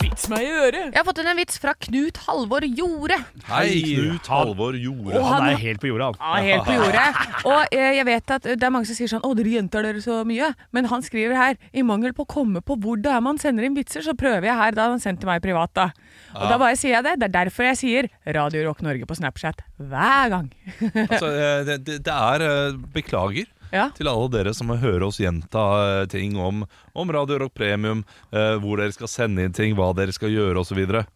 S3: Vits meg i øret.
S8: Jeg har fått inn en vits fra Knut Halvor Jorde.
S5: Hei, Knut Halvor Jorde.
S3: han-
S2: Han er helt på jorda.
S3: Ja, helt på jordet.
S5: [LAUGHS]
S3: Og eh, jeg vet at det er mange som sier sånn 'Å, dere gjentar dere så mye'. Men han skriver her 'I mangel på å komme på hvor det er man sender inn vitser', så prøver jeg her. Da har han sendt til meg privat, da. Og da bare sier jeg det. Det er derfor jeg sier Radio Rock Norge på Snapchat hver gang. [LAUGHS]
S5: Altså, eh, det, det det er eh, Beklager
S3: Ja.
S5: til alle dere som hører oss gjenta eh, ting om, om Radio Rock Premium, eh, hvor dere skal sende inn ting, hva dere skal gjøre osv. Dere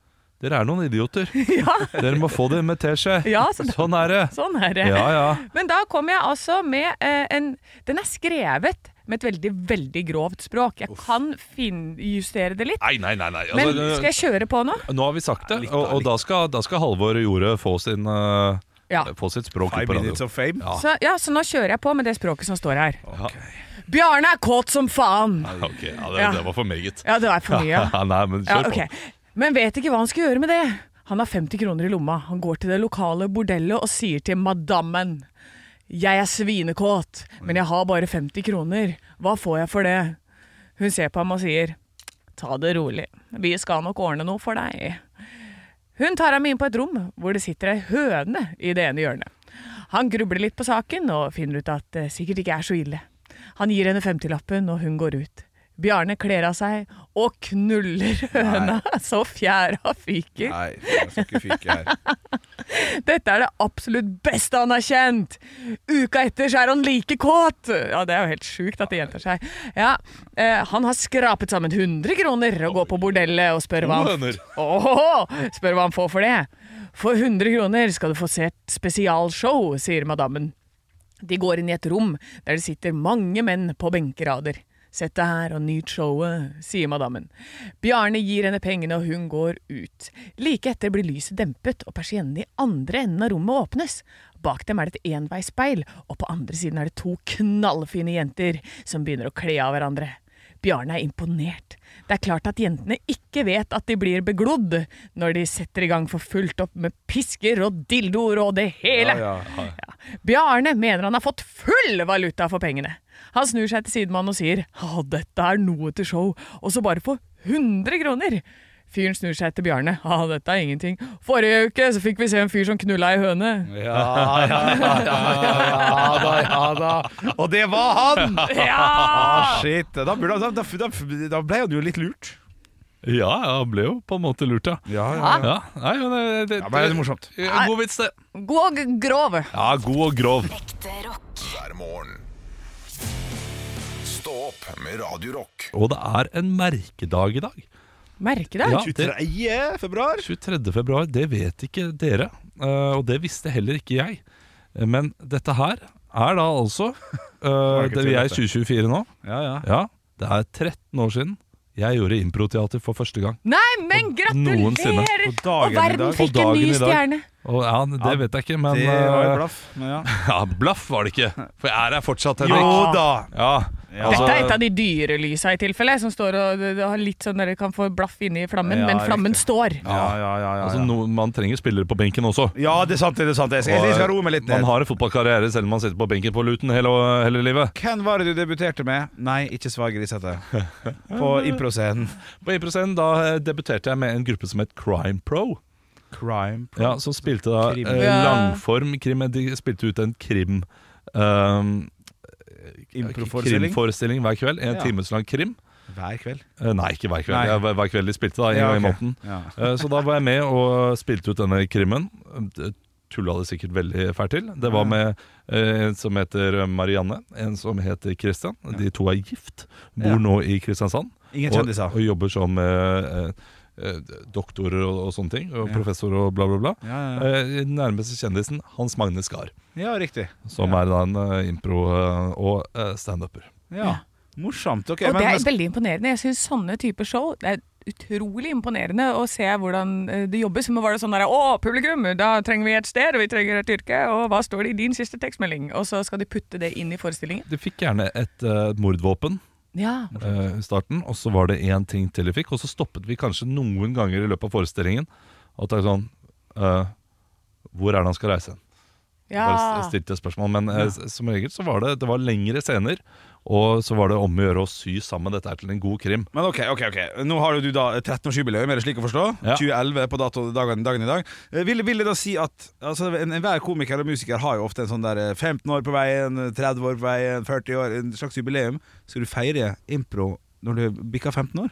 S5: er noen idioter.
S3: ja,
S5: Dere må få det med teskje.
S3: Ja, så da-
S5: sånn er det.
S3: sånn er det.
S5: Ja, ja.
S3: Men da kom jeg altså med eh, en Den er skrevet med et veldig, veldig grovt språk. Jeg kan finjustere det litt.
S5: Nei, nei, nei. nei.
S3: Men
S5: Altså,
S3: skal jeg kjøre på nå?
S5: Nå har vi sagt det, og, og da, skal, da skal Halvor Jorde få, sin, eh,
S3: Ja.
S5: få sitt språk ut
S2: Five
S5: på radio.
S2: minutes of fame.
S5: Ja.
S3: Så, ja, så nå kjører jeg på med det språket som står her. Bjarne er kåt som faen!
S5: Ja, ok. ja, det,
S3: Ja.
S5: det var for meget.
S3: Ja, det var for mye.
S5: [LAUGHS] Ja, nei, men
S3: Ja,
S5: kjør [LAUGHS]
S3: ok. Men vet ikke hva han skal gjøre med det. Han har 50 kroner i lomma. Han går til det lokale bordellet og sier til madammen. Jeg er svinekåt, men jeg har bare 50 kroner. Hva får jeg for det? Hun ser på ham og sier. Ta det rolig. Vi skal nok ordne noe for deg. Hun tar ham inn på et rom hvor det sitter ei høne i det ene hjørnet. Han grubler litt på saken og finner ut at det sikkert ikke er så ille. Han gir henne femtilappen, og hun går ut. Bjarne kler av seg og knuller høna så fjæra fyker.
S2: Nei, jeg skal ikke fyke her.
S3: Dette er det absolutt beste han har kjent! Uka etter så er han like kåt! Ja, Det er jo helt sjukt at det gjentar seg. Ja, eh, Han har skrapet sammen 100 kroner og går på bordellet og spør hva han, Åhåhå! spør hva han får for det. For 100 kroner skal du få se et spesialshow, sier madammen. De går inn i et rom der det sitter mange menn på benkerader. Sett deg her og nyt showet, sier madammen. Bjarne gir henne pengene, og hun går ut. Like etter blir lyset dempet, og persiennene i andre enden av rommet åpnes. Bak dem er det et enveisspeil, og på andre siden er det to knallfine jenter som begynner å kle av hverandre. Bjarne er imponert. Det er klart at jentene ikke vet at de blir beglodd når de setter i gang for fullt opp med pisker og dildoer og det hele. Ja. Bjarne mener han har fått full valuta for pengene. Han snur seg til sidemannen og sier «Å, dette er noe til show, og så bare for 100 kroner. Fyren snur seg til Bjarne. «Å, dette er ingenting. Forrige uke så fikk vi se en fyr som knulla ei høne.
S2: Ja da, ja da. Og det var han! Ah,
S3: Ja!
S2: Shit. Da, burde, da, da, da, da ble han jo litt lurt.
S5: Ja, jeg ble jo på en måte lurt, ja.
S2: Ja,
S3: Ah.
S5: ja. Nei, men det, det,
S2: Ja, men det er morsomt.
S5: Ja, God vits, det.
S8: God og grov.
S5: Ja, god og grov.
S6: Ekte rock.
S1: hver morgen. Stå opp med Radio Rock.
S5: Og det er en merkedag i dag.
S3: Merke det.
S5: Ja, det,
S2: 23. februar.
S5: 23. februar, det vet ikke dere. eh, Og det visste heller ikke jeg. Eh, Men dette her er da
S2: [LAUGHS]
S5: altså eh, det, Vi er i 2024 nå.
S2: Ja, ja.
S5: Ja, det er 13 år siden jeg gjorde improteater for første gang.
S3: Nei, men
S5: noensinne.
S3: gratulerer!
S2: På dagen
S3: Og
S2: i
S3: verden
S2: dag.
S3: fikk
S5: På
S3: en ny
S5: dagen i dag.
S3: stjerne.
S5: Og ja, det vet jeg ikke, men
S2: Det var jo
S5: eh,
S2: blaff. Men ja.
S5: [LAUGHS] Ja, blaff var det ikke. For jeg er her fortsatt, Henrik.
S2: Jo da!
S5: Ja, altså,
S3: Dette er et av de dyre lysa i tilfelle, som står og det- det har litt sånn dere kan få blaff inni flammen,
S2: Ja,
S3: men flammen står.
S2: Ja, ja, ja. ja,
S5: altså
S2: ja.
S5: no, Man trenger spillere på benken også. eh,
S2: ja det er sant, det er sant. Jeg skal, jeg skal roe meg litt
S5: Man
S2: ned.
S5: har en fotballkarriere selv om man sitter på benken på Luton hele, hele livet.
S2: Hvem var det du debuterte med? Nei, ikke Svar
S5: [LAUGHS]
S2: Grisete. På improscenen.
S5: På Improscenen da eh, debuterte jeg med en gruppe som het Crime Pro.
S2: Crime.
S5: Ja, Som spilte da
S2: Krim.
S5: eh,
S3: Ja.
S5: langform krim. De spilte ut en krim. Um,
S2: Improforestilling.
S5: krimforestilling hver kveld. En
S2: Ja.
S5: times lang krim.
S2: Hver kveld.
S5: Eh, Nei, ikke hver kveld.
S2: Nei.
S5: Ja, hver- hver kveld de spilte, da. En gang i
S2: ok.
S5: måneden.
S2: Ja.
S5: Eh, Så da var jeg med og spilte ut denne krimmen. Det Tulla det sikkert veldig fælt til. Det var med eh, en som heter Marianne, en som heter Christian. De to er gift, bor
S2: Ja.
S5: nå i Kristiansand.
S2: Ingen
S5: Og,
S2: kjendiser.
S5: og jobber som eh, eh, doktorer og, og sånne ting. Og
S2: Ja.
S5: professor og bla, bla, bla.
S2: Ja, ja, ja.
S5: Eh, Den nærmeste kjendisen, Hans Magne Skar,
S2: ja riktig.
S5: eh, som er da en eh, impro- og eh, standuper.
S2: Ja. Morsomt. ok
S3: og
S2: men-
S3: det er veldig imponerende. Jeg synes sånne typer show det er utrolig imponerende å se hvordan eh, det jobbes. Men var det sånn der, å publikum, da trenger vi et sted, og vi trenger et yrke, og hva står det i din siste tekstmelding? Og så skal de putte det inn i forestillingen.
S5: De fikk gjerne et eh, mordvåpen
S3: Ja,
S5: eh, i starten, og så var det én ting til de fikk, og så stoppet vi kanskje noen ganger i løpet av forestillingen. At det er sånn eh, Hvor er det han skal reise hen? Bare
S3: ja.
S5: stilte et spørsmål. Men eh, s- som regel så var det Det var lengre scener, og så var det om å gjøre å sy sammen dette her til en god krim.
S2: Men ok, ok, ok Nå har jo du da 13-årsjubileum, er det slik å forstå?
S5: Ja.
S2: 2011 på dato, dagen, dagen i dag. Eh, Vil, vil det da si at altså, en, Enhver komiker og musiker har jo ofte en sånn der eh, 15 år på veien, 30 år på veien, 40 år, en slags jubileum. Skal du feire impro når du bikker 15 år?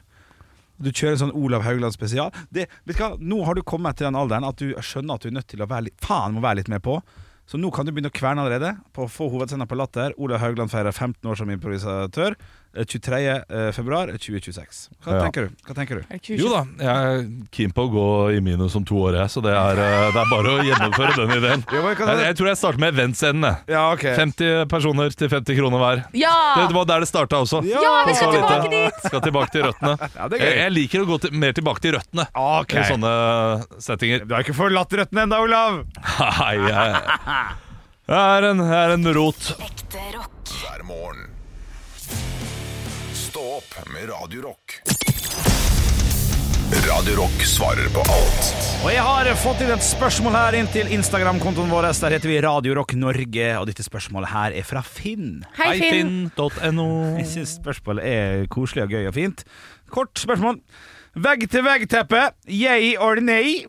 S2: Du kjører en sånn Olav Haugland spesial. Det, vet du hva? Nå har du kommet til den alderen at du skjønner at du er nødt til å være litt, faen må være litt med på. Så nå kan du begynne å kverne allerede på å få hovedscenen på Latter. Olav Haugland feirer 15 år som improvisatør. eh, 23. eh, februar 2026. Hva
S5: Ja.
S2: tenker du? Hva tenker du?
S3: Er det ikke
S5: Jo da, jeg er keen på å gå i minus om to år, jeg, så det er, eh, det er bare å gjennomføre den ideen.
S2: Ja, men kan
S5: Jeg,
S2: du-
S5: jeg tror jeg starter med eventscenen. jeg.
S2: Ja, ok.
S5: 50 personer til 50 kroner hver. Det,
S8: Ja!
S5: det var der det starta også.
S2: Ja,
S8: vi skal
S5: Så litt,
S8: tilbake
S5: eh, Skal tilbake til [LAUGHS] røttene.
S2: Ja, det er
S5: jeg,
S2: gøy.
S5: jeg liker å gå til, mer tilbake til røttene
S2: Ah, Ok.
S5: i sånne settinger. [LAUGHS]
S2: Du har ikke forlatt røttene ennå, Olav!
S5: Nei, jeg, jeg, er en, jeg er en rot.
S6: Ekte rock.
S1: hver morgen. Stå opp med Radio Rock. Radio Rock svarer på alt.
S2: Og jeg har fått inn et spørsmål her inn til Instagram-kontoen vår. Der heter vi Radio Rock Norge, og dette spørsmålet her er fra Finn.
S8: Hei, Finn.
S5: Finn.no.
S2: Jeg syns spørsmålet er koselig og gøy og fint. Kort spørsmål. Vegg-til-vegg-teppe, yay or nay?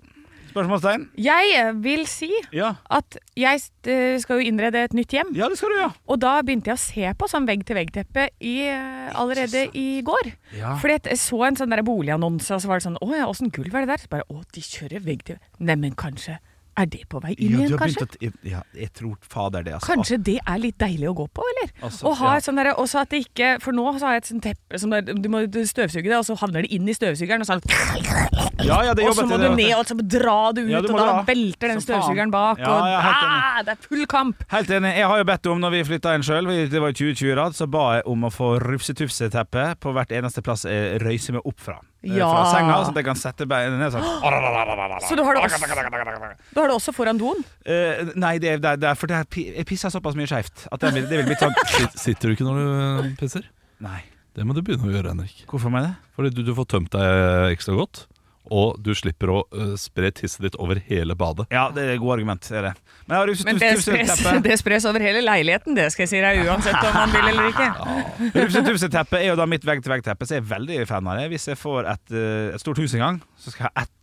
S2: Spørsmålstegn.
S3: Jeg vil si
S2: Ja.
S3: at jeg eh, skal jo innrede et nytt hjem,
S2: ja, det skal du, ja.
S3: og da begynte jeg å se på sånn vegg-til-vegg-teppe i, eh, allerede i går.
S2: Ja.
S3: Fordi at jeg så en sånn der boligannonse, og så var det sånn Å ja, åssen gulv er det der? Så bare Å, de kjører vegg til Neimen, kanskje er det på vei
S2: Ja,
S3: inn
S2: du
S3: igjen,
S2: har begynt
S3: kanskje?
S2: at, ja, jeg tror fader det, altså.
S3: Kanskje det er litt deilig å gå på, eller?
S2: Altså,
S3: Og ha
S2: ja.
S3: et sånn derre- også at det ikke For nå så har jeg et sånt teppe som er, du må støvsuge det, og så havner det inn i støvsugeren, og sånn
S2: Ja, ja, det
S3: Og så
S2: jobbet
S3: må
S2: jeg-
S3: du ned, og så dra det ut,
S2: Ja, du
S3: og
S2: må
S3: da
S2: dra.
S3: velter
S2: Som
S3: den
S2: faen.
S3: støvsugeren bak,
S2: Ja,
S3: og
S2: jeg er helt enig.
S3: ah, det er full kamp!
S2: Helt enig. Jeg har jo bedt om, når vi flytta inn sjøl, det var i 2020, da, så ba jeg om å få rufsetufseteppe på hvert eneste plass jeg røyser meg opp fra. Eh,
S3: Ja.
S2: Fra senga, sånn at jeg kan sette beina ned
S3: [GASPS]
S2: sånn.
S3: Så du har det også, du har det også foran doen?
S2: Eh, nei, det er, det er- det er for det er, pi- jeg pisser såpass mye skeivt at det vil, det vil bli sånn
S3: [LAUGHS]
S5: Sit- Sitter du ikke når du pisser?
S2: Nei.
S5: Det må du begynne å gjøre, Henrik.
S2: Hvorfor mener jeg det?
S5: Fordi du, du får tømt deg ekstra godt, og du slipper å eh, spre tisset ditt over hele badet.
S2: Ja, det er et godt argument. Det er det. Men jeg har rufset-
S3: Men det
S2: tufset
S3: spres,
S2: teppet.
S3: [LAUGHS] det spres over hele leiligheten, det skal jeg si deg, uansett om man vil eller ikke.
S2: Rufsetufseteppet er jo da mitt vegg-til-vegg-teppe, så jeg er veldig fan av det. Hvis jeg får et, eh, et stort hus en gang, så skal jeg ha ett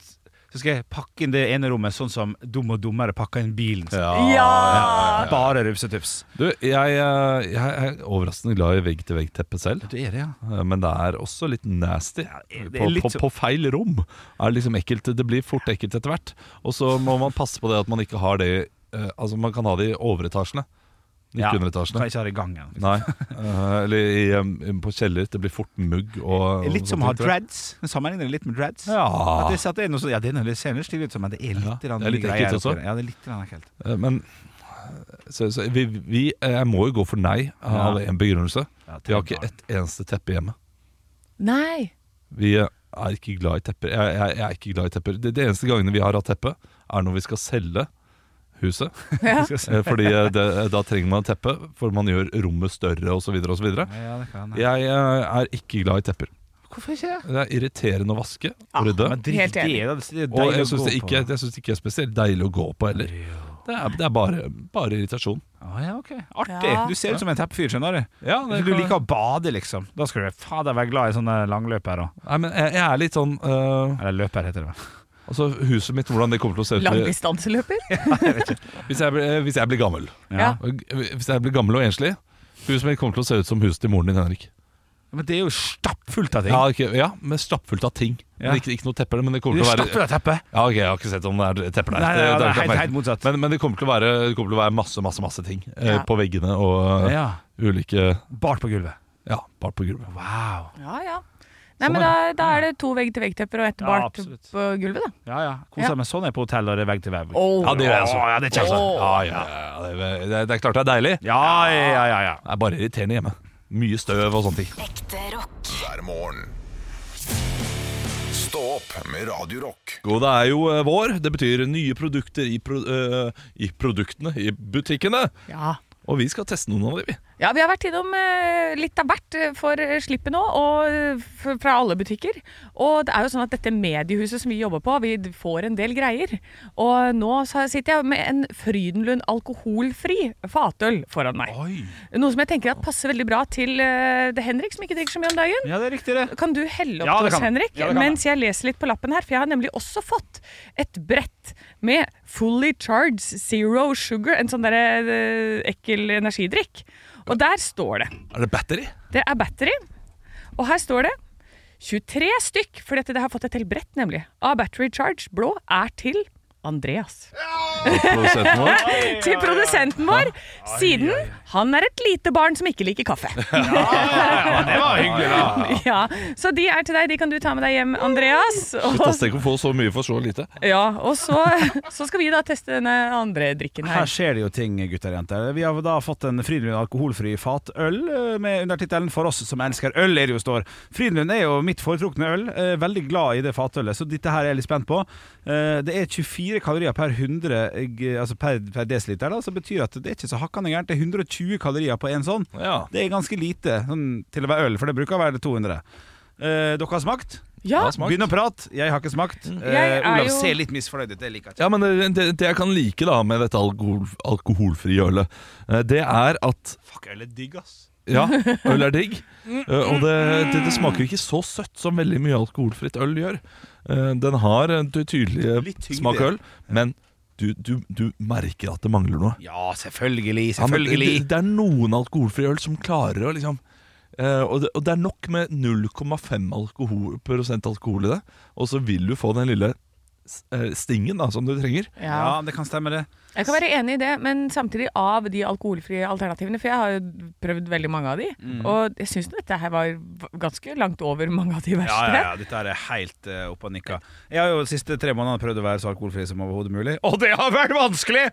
S2: så skal jeg pakke inn det ene rommet sånn som dum og dummere pakker inn bilen. sin.
S3: Ja!
S2: Bare rufsetups.
S5: Du, jeg, eh, jeg er overraskende glad i vegg-til-vegg-teppe selv.
S2: Det er det, ja.
S5: Eh, Men det er også litt nasty.
S2: det er
S5: på,
S2: litt
S5: på,
S2: så-
S5: på feil rom. Er det, liksom ekkelt, det blir fort ekkelt etter hvert. Og så må man passe på det at man ikke har det eh, Altså, man kan ha det i overetasjene, ikke
S2: Kan
S5: underetasjene.
S2: ikke ha det i gangen.
S5: Nei. Eh, eller i, em, på kjeller. Det blir fort mugg og
S2: Litt som å
S5: og
S2: ha
S5: sånt etter hvert.
S2: dreads. Men Sammenligner det litt med dreads. At
S5: Ja.
S2: det, at det er noe sånn, ja, det er noe det ser litt slik ut som, men det er litt
S5: Ja,
S2: grann
S5: det er litt
S2: mye
S5: ekkelt
S2: greier
S5: også.
S2: oppi det. Ja, det er litt grann ekkelt.
S5: Eh, Men så, så, vi, vi, Jeg må jo gå for nei av
S2: Ja.
S5: en begrunnelse.
S2: Ja,
S5: Vi har ikke et eneste teppe hjemme.
S3: Nei.
S5: Vi eh, er ikke glad i tepper. Jeg, jeg, jeg er ikke glad i tepper. Det, det eneste gangene vi har hatt teppe, er når vi skal selge huset.
S2: [LAUGHS]
S5: Eh, Fordi eh, det, da trenger man teppe, for man gjør rommet større osv. osv.
S2: Ja, det kan jeg.
S5: Jeg eh, er ikke glad i tepper.
S2: Hvorfor ikke det?
S5: Det er irriterende å vaske og rydde.
S2: Men drit
S3: Helt
S2: i
S3: enig.
S2: det, da. Det er
S5: Og
S2: deilig
S5: jeg
S2: å
S5: syns
S2: gå
S5: det, ikke-
S2: på.
S5: jeg synes det ikke er spesielt deilig å gå på heller. Det er, det er bare, bare irritasjon.
S2: Å, ja, ok. Artig!
S3: Ja.
S2: Du ser ut som en teppefyr, skjønner du.
S5: Ja, det
S2: du
S5: kan-
S2: liker å bade, liksom. Da skal du fader være glad i sånne langløpere.
S5: Nei, men jeg, jeg er litt sånn eh,
S2: Eller løper, heter det vel.
S5: Altså, huset mitt, hvordan det kommer til å se ut hvis
S3: Langdistanseløper?
S5: jeg, blir- eh, hvis jeg blir gammel.
S3: Ja.
S5: Hvis jeg blir gammel og enslig Huset mitt kommer til å se ut som huset til moren din, Henrik.
S2: Men det er jo stappfullt av ting.
S5: Ja, ok, ja men stappfullt av ting.
S2: Ja.
S5: Men Ikke, ikke noe tepper, men det
S2: det
S5: kommer
S2: er
S5: til å
S2: stappfullt
S5: være
S2: av teppe.
S5: Ja, ok, Jeg har ikke sett om det er tepper
S2: Nei,
S5: der.
S2: nei, nei, det er
S5: ikke
S2: helt-
S5: oppmerksom.
S2: helt motsatt.
S5: Men, men det, kommer til å være, det kommer til å være masse masse, masse ting eh,
S3: Ja.
S5: på veggene og eh,
S2: Ja.
S5: ulike
S2: Bart på gulvet.
S5: Ja, bare på gulvet.
S2: Wow.
S3: Ja, ja. Nei, men da, da er det to vegg-til-vegg-tepper og ett
S2: Ja,
S3: bart
S2: absolutt.
S3: på gulvet, da.
S2: Ja, ja.
S3: Ja.
S2: Koser meg sånn er på hotell, og det er vegg til vegg.
S5: Ja, det gjør jeg
S2: Å,
S5: også.
S2: ja, det er kjempe-
S5: Ja, ja, ja, det, er- det er klart det er deilig.
S2: Ja, ja, ja, ja.
S5: Det er bare irriterende hjemme. Mye støv og sånne ting.
S6: Ekte rock.
S1: hver morgen. Stå opp med Radio Rock.
S5: Og det er jo eh, vår. Det betyr nye produkter i, pro eh, i produktene, i butikkene.
S3: Ja.
S5: Og vi skal teste noen av dem.
S3: Ja, vi har vært innom eh, litt av hvert eh, for eh, slippet nå, og eh, f- fra alle butikker. Og det er jo sånn at dette mediehuset som vi jobber på, vi d- får en del greier. Og nå sa- sitter jeg med en Frydenlund alkoholfri fatøl foran meg. Noe som jeg tenker at passer veldig bra til eh, det Henrik, som ikke drikker så mye om dagen.
S2: Ja, det er riktig, det.
S3: Kan du helle opp
S2: Ja,
S3: til
S2: det
S3: oss,
S2: kan jeg.
S3: Henrik,
S2: Ja, det kan jeg.
S3: mens jeg leser litt på lappen her? For jeg har nemlig også fått et brett med Fully Charged Zero Sugar, en sånn derre eh, ekkel energidrikk. Og der står det.
S5: Er det battery?
S3: Det er battery. Og her står det 23 stykk, for dette det har fått et helt brett, nemlig. Av Battery Charge blå er til Andreas.
S5: Produsenten vår?
S3: Til produsenten vår, siden han er et lite barn som ikke liker kaffe.
S2: Det var hyggelig, da.
S3: [LAUGHS] Ja, Så de er til deg. De kan du ta med deg hjem, Andreas.
S5: Shit, altså.
S3: Og,
S5: ass, Tenk å få så mye for så lite.
S3: ja, og så, [LAUGHS] så skal vi da teste denne andre drikken
S2: Her
S3: her.
S2: skjer det jo ting, gutter og jenter. Vi har da fått en Frydenlund alkoholfri fatøl eh, med undertittelen 'For oss som elsker øl', er det jo står. Frydenlund er jo mitt foretrukne øl. eh, Veldig glad i det fatølet, så dette her er jeg litt spent på. Eh, Det er 24 kalorier per 100 g- altså per, per desiliter, da, så betyr at det er ikke så hakkande gærent. Det er 120 kalorier på en sånn.
S5: Ja.
S2: Det er ganske lite sånn, til å være øl, for det bruker å være 200. Eh, dere har smakt?
S3: Ja,
S5: Hva smak?
S2: Begynn å prate. Jeg har ikke smakt. Eh,
S3: Mm. Jeg er
S2: Olav
S3: jo-
S2: ser litt misfornøyd ut. Det liker jeg ikke.
S5: Ja, men det, det, det jeg kan like da med dette alkohol, alkoholfrie ølet, eh, det er at
S2: Fuck, øl er digg, ass.
S5: ja, øl er digg, eh, og det, det, det smaker ikke så søtt som veldig mye alkoholfritt øl gjør. Eh, Den har en ty- tydelig
S2: Litt tyngde.
S5: smak av øl, men du, du, du merker at det mangler noe.
S2: Ja, selvfølgelig.
S5: Ja, men
S2: Selvfølgelig.
S5: det, det er noen alkoholfrie øl som klarer å liksom eh, og, det, og det er nok med 0,5 alkohol, prosent alkohol i det, og så vil du få den lille eh, stingen da, som du trenger.
S3: Ja.
S2: Ja, det kan stemme det.
S3: Jeg kan være enig i det, men samtidig av de alkoholfrie alternativene, for jeg har jo prøvd veldig mange av de, og jeg syns dette her var ganske langt over mange av de
S2: Ja,
S3: verste. [LAUGHS]
S2: ja, ja, Dette er helt uh, opp og nikka. Jeg har jo de siste tre månedene prøvd å være så alkoholfri som overhodet mulig, [LAUGHS] og det har vært vanskelig!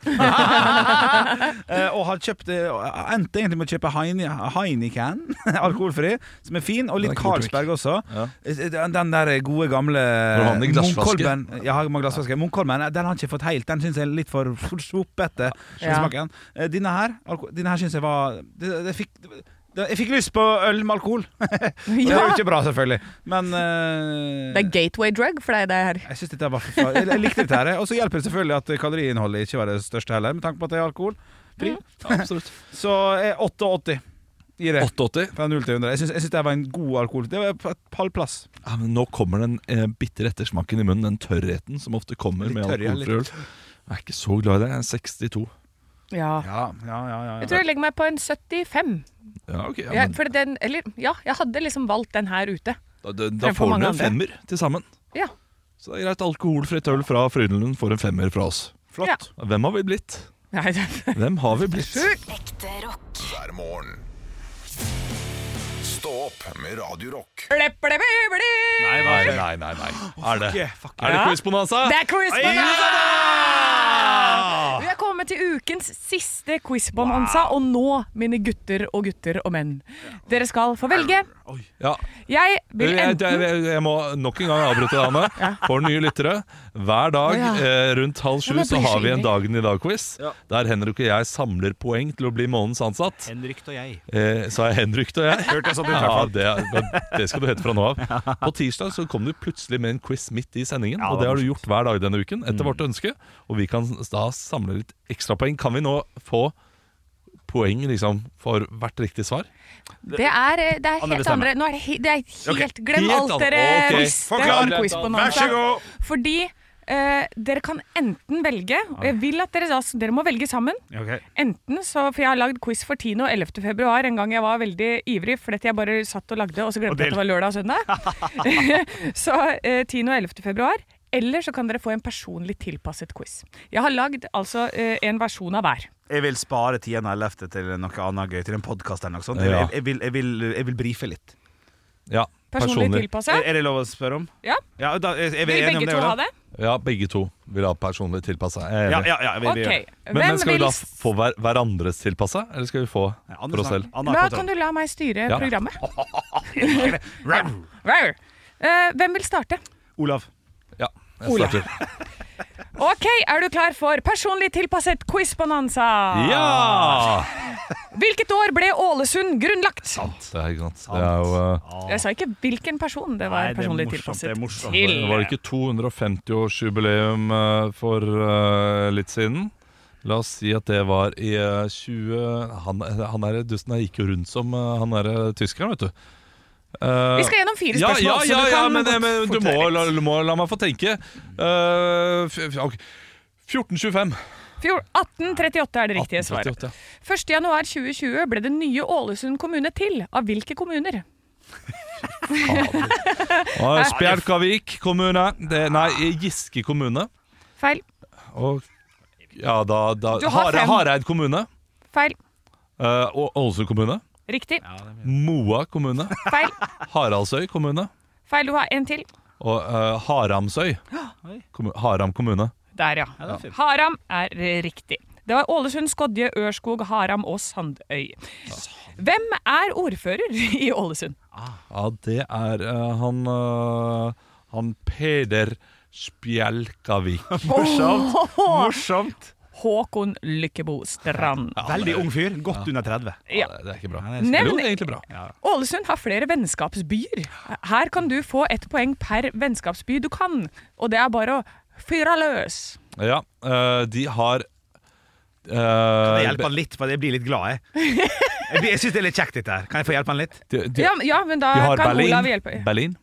S2: Eh, og har kjøpt eh, endte egentlig med å kjøpe Heine, Heineken [LAUGHS] alkoholfri, som er fin, og
S5: Den er
S2: litt
S5: ikke borte
S2: Carlsberg også.
S5: Ja.
S2: Eh, Den, den der gode gamle
S5: Når han i glassflaske.
S2: Munkholmen Ja, med glassflaske. Munkholmen, eh, den har jeg ikke fått helt. Den syns jeg er litt for for sopete.
S3: Ja.
S2: Ja. Eh, Denne her, alko- denne her syns jeg var det, det fikk, det, Jeg fikk lyst på øl med alkohol. Og Det er jo ikke bra, selvfølgelig. Men eh,
S3: Det er gateway drug for deg, det her.
S2: jeg, synes dette var for fa- jeg, jeg likte dette. her Og så hjelper det selvfølgelig at kaloriinnholdet ikke var det største heller, med tanke på at det er alkohol.
S5: Absolutt.
S2: Så eh, jeg er 88 i det.
S5: 88.
S2: Fra 0 til 100. Jeg syns, jeg synes det var en god alkohol. Det var på et halv plass.
S5: Ja, men nå kommer den eh, bitre ettersmaken i munnen, den tørrheten som ofte kommer
S2: Litt
S5: med
S2: tørr, ja,
S5: alkoholfri øl. Jeg er ikke så glad i det. Jeg er 62.
S3: Ja.
S2: Ja, ja, ja, ja,
S3: Jeg
S2: ja.
S3: tror jeg legger meg på en 75.
S5: Ja, ok. Ja,
S3: Ja,
S5: men,
S3: for den, eller, ja, jeg hadde liksom valgt den her ute.
S5: da da, da
S3: fremfor
S5: får
S3: mange
S5: den en
S3: andre.
S5: femmer til sammen.
S3: Ja.
S5: Så det er greit. Alkoholfritt øl fra Frydenlund får en femmer fra oss.
S2: Flott.
S3: Ja.
S5: Hvem har vi blitt?
S3: Nei,
S5: [LAUGHS]
S3: det-
S5: Hvem har vi blitt?
S6: Ekte rock.
S1: hver morgen. Stå opp med Radio Rock.
S3: Ble, ble, ble, ble.
S5: Nei, nei, nei. nei, nei. Er det,
S2: Yeah, fuck
S5: er det
S3: Ja.
S5: quizbonanza?
S3: Det er quizbonanza! Vi er kommet til ukens siste quizbonanza, og nå, mine gutter og gutter og menn, dere skal få velge.
S5: Ja.
S3: Jeg
S5: Jeg,
S3: vil
S5: jeg,
S3: enten
S5: jeg, jeg må nok en gang avbryte deg,
S3: [LAUGHS]
S5: Anne. For nye lyttere. Hver dag
S3: Å, ja.
S5: eh, rundt halv
S3: Ja,
S5: sju
S3: men jeg
S5: så
S3: blir
S5: har
S3: så
S5: vi en
S3: ivrig.
S5: Dagen i dag-quiz. Der Henrik og jeg samler poeng til å bli månedens ansatt.
S2: Henrik og jeg.
S5: Eh, sa jeg Henrik og jeg?
S2: Hørtes sånn ut, i hvert
S5: Ja,
S2: fall.
S5: det, er- det skal du hete fra
S2: [LAUGHS]
S5: nå av. På tirsdag så kom du plutselig med en quiz midt i sendingen,
S2: Ja,
S5: og
S2: det var Mm.
S5: det har du gjort hver dag denne uken etter vårt ønske. Og vi kan da samle litt ekstrapoeng. Kan vi nå få poeng liksom for hvert riktig svar?
S3: Det er, eh, det er helt
S2: bestemmer.
S3: andre Nå er det, he, det er helt Glem
S5: Helt
S3: alt
S5: an-
S3: dere
S5: ok.
S3: visste
S2: Forklar.
S3: om quizbonanza.
S2: Vær så god.
S3: Fordi eh, dere kan enten velge, og jeg vil at dere, da- dere må velge sammen. Enten så, for Jeg har lagd quiz for 10. og 11. februar, en gang jeg var veldig ivrig fordi jeg bare satt og lagde, og så glemte jeg at det var lørdag og søndag. [LAUGHS] så eh, 10. og 11. februar. Eller så kan dere få en personlig tilpasset quiz. Jeg har lagd altså eh, en versjon av hver.
S2: Jeg vil spare 10. og 11. til noe annet gøy, til en podkast eller noe sånt.
S5: Ja.
S2: Jeg, jeg, vil, jeg, vil, jeg vil brife litt.
S5: Ja,
S3: Personlig,
S5: Personlig.
S3: tilpassa.
S2: Er, er det lov å spørre om?
S3: Ja.
S2: ja da, er, er Eh, vi
S3: Vil
S2: enige om
S3: begge
S2: det?
S3: to
S2: Ola?
S3: ha det?
S5: Ja, begge to vil ha personlig tilpassa. Jeg er
S2: Ja,
S5: enig.
S2: ja, ja, vi, vi,
S3: Ok.
S2: gjør det.
S5: Men, men
S3: Hvem
S5: skal vi
S3: vil
S5: da få hver, hverandres tilpassa, eller skal vi få
S2: Ja, Anders
S5: for oss
S2: har-
S5: selv?
S2: Anna har
S3: Da
S2: kontroll.
S3: kan du la meg styre
S5: Ja.
S3: programmet.
S2: Rau.
S3: Wow. Eh, hvem vil starte?
S2: Olav.
S5: Ja, jeg
S3: Ola.
S5: starter.
S3: Ok, er du klar for personlig tilpasset quiz-bonanza?
S2: Ah.
S5: Ja!
S3: Hvilket år ble Ålesund grunnlagt?
S5: Det er, ikke sant. Det er jo, eh,
S3: Jeg sa ikke hvilken person det var
S2: Nei, det er
S3: personlig
S2: morsomt, det er
S3: tilpasset
S2: morsomt.
S3: til.
S5: var det ikke 250-årsjubileum eh, for eh, litt siden? La oss si at det var i eh, 20... Han, han er dusten her gikk jo rundt som eh, han er eh, tyskeren, vet du. Eh,
S3: Vi skal gjennom fire
S5: ja,
S3: spørsmål,
S5: ja,
S3: så
S5: ja,
S3: du
S5: ja,
S3: kan
S5: men,
S3: godt
S5: men du,
S3: fortere
S5: må,
S3: litt.
S5: la, du må la meg få tenke. Eh, f- f- ok. 1425.
S3: Fjor- 1838 er det riktige svaret.
S5: 1838,
S3: 1. januar 2020 ble den nye Ålesund kommune til. Av hvilke kommuner?
S5: Ja,
S3: [LAUGHS]
S5: Spjelkavik kommune. Det, nei, Giske kommune.
S3: Feil,
S5: Og ja, da, da
S3: Du har
S5: Hare-
S3: fem.
S5: Hareid kommune.
S3: feil,
S5: eh, Og Ålesund kommune.
S3: riktig,
S5: Moa kommune.
S3: feil,
S5: Haraldsøy kommune.
S3: feil. Du har en til.
S5: Og eh, Haramsøy. Kommu- Haram kommune.
S3: Der, ja. Haram er riktig. Det var Ålesund, Skodje, Ørskog, Haram og Sandøy. Hvem er ordfører i Ålesund?
S5: Ja, det er eh, han eh, Han Peder Spjelkavik.
S2: Morsomt. Morsomt.
S3: Håkon Lykkebo Strand.
S2: [LAUGHS] Veldig ung fyr. Godt under 30.
S3: Ja.
S5: Det, det er ikke bra.
S2: Nei, det er-
S3: Nevn-
S5: Jo, det er egentlig bra.
S3: Ålesund har flere vennskapsbyer. Her kan du få ett poeng per vennskapsby du kan. Og det er bare å fyre løs.
S5: Ja, eh, de har eh,
S2: Det hjelper han litt, for jeg blir litt
S3: [LAUGHS]
S2: glad, jeg. Jeg, blir- jeg syns det er litt kjekt, dette her. Kan jeg få hjelpe han litt?
S5: de, de,
S3: Ja, ja men da
S5: de har
S3: kan Olav
S5: Berlin.
S3: hjelpe.
S5: Berlin.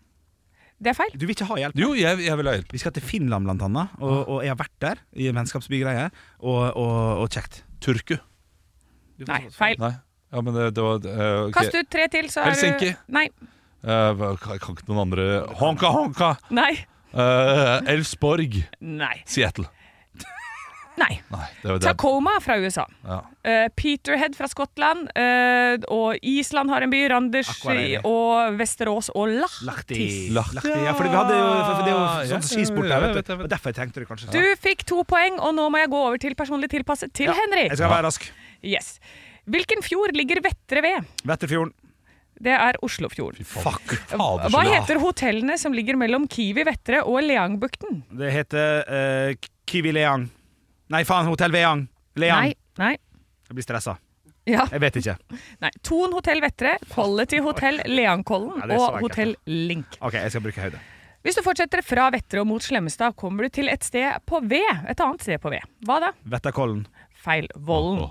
S3: Det er feil.
S2: Du vil ikke ha hjelp?
S5: Jo, jeg, jeg vil ha hjelp.
S2: Vi skal til Finland, blant annet. Og,
S3: Ah.
S2: og jeg har vært der, i en vennskapsbygreie. Og, og, og kjekt.
S5: Turku.
S3: Nei, feil.
S5: Nei. Ja, men det, det var eh, ok.
S3: Kast ut tre til, så er
S5: Helsinki.
S3: du Nei.
S5: Eh, hva- kan kan ikke noen andre Honka, honka!
S3: Nei.
S5: Eh, Elfsborg,
S3: Nei.
S5: Seattle.
S3: Nei.
S5: Nei, det var det.
S3: Tacoma fra USA.
S5: Ja.
S3: Eh, Peterhead fra Skottland. eh, og Island har en by. Randers
S2: Akureyri.
S3: og Vesterås og Lahtis.
S2: Lahti.
S5: Lahti.
S2: Lahti. Ja, for vi hadde jo, for det er jo
S5: Ja,
S2: sånn skisport
S5: ja,
S2: der,
S5: jeg
S2: vet
S5: vet det, jeg
S2: du.
S5: vet
S2: Og derfor tenkte du kanskje sånn.
S3: Du fikk to poeng, og nå må jeg gå over til personlig tilpasset til Henry.
S2: Jeg skal være rask.
S3: Yes. Hvilken fjord ligger Vettre ved?
S2: Vetterfjorden.
S3: Det er Oslofjorden.
S5: Fuck! Fader,
S3: Hva
S5: så bra.
S3: heter hotellene som ligger mellom Kiwi Vettre og Leangbukten?
S2: Det heter eh, Kiwi Leang. Nei, faen, Hotell Veang. Leang.
S3: Nei. Nei.
S2: Jeg blir stressa.
S3: Ja.
S2: Jeg vet ikke.
S3: Nei. Thon hotell Vettre, Quality hotell
S2: Ja,
S3: Leankollen
S2: det er så
S3: og
S2: enkelt.
S3: hotell Link.
S2: OK, jeg skal bruke høyde.
S3: Hvis du fortsetter fra Vettre og mot Slemmestad, kommer du til et sted på V. Et annet sted på V. Hva da?
S2: Vetterkollen.
S3: Feil. Vollen.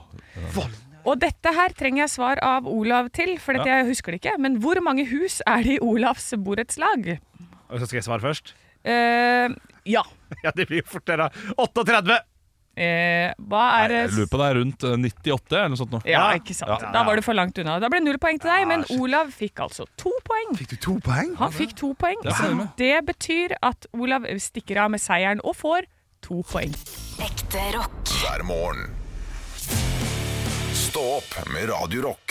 S3: Og dette her trenger jeg svar av Olav til, for dette jeg husker det ikke. Men hvor mange hus er det i Olavs borettslag?
S2: Og så skal jeg svare først? [LAUGHS]
S3: Eh, ja.
S2: Ja, det blir jo fortere. 38!
S3: Eh, hva er
S5: Jeg lurer på det er rundt eh, 98 eller noe sånt nå.
S3: Ja,
S2: Ja.
S3: ikke sant. Da var du for langt unna. Da ble det null poeng til deg, men Olav fikk altså to poeng.
S2: Fikk du to poeng?
S3: Han fikk to poeng,
S5: er
S3: så
S5: fornøyd med.
S3: det betyr at Olav stikker av med seieren og får to poeng.
S6: Ekte rock.
S1: hver morgen. Stå opp med Radio Rock.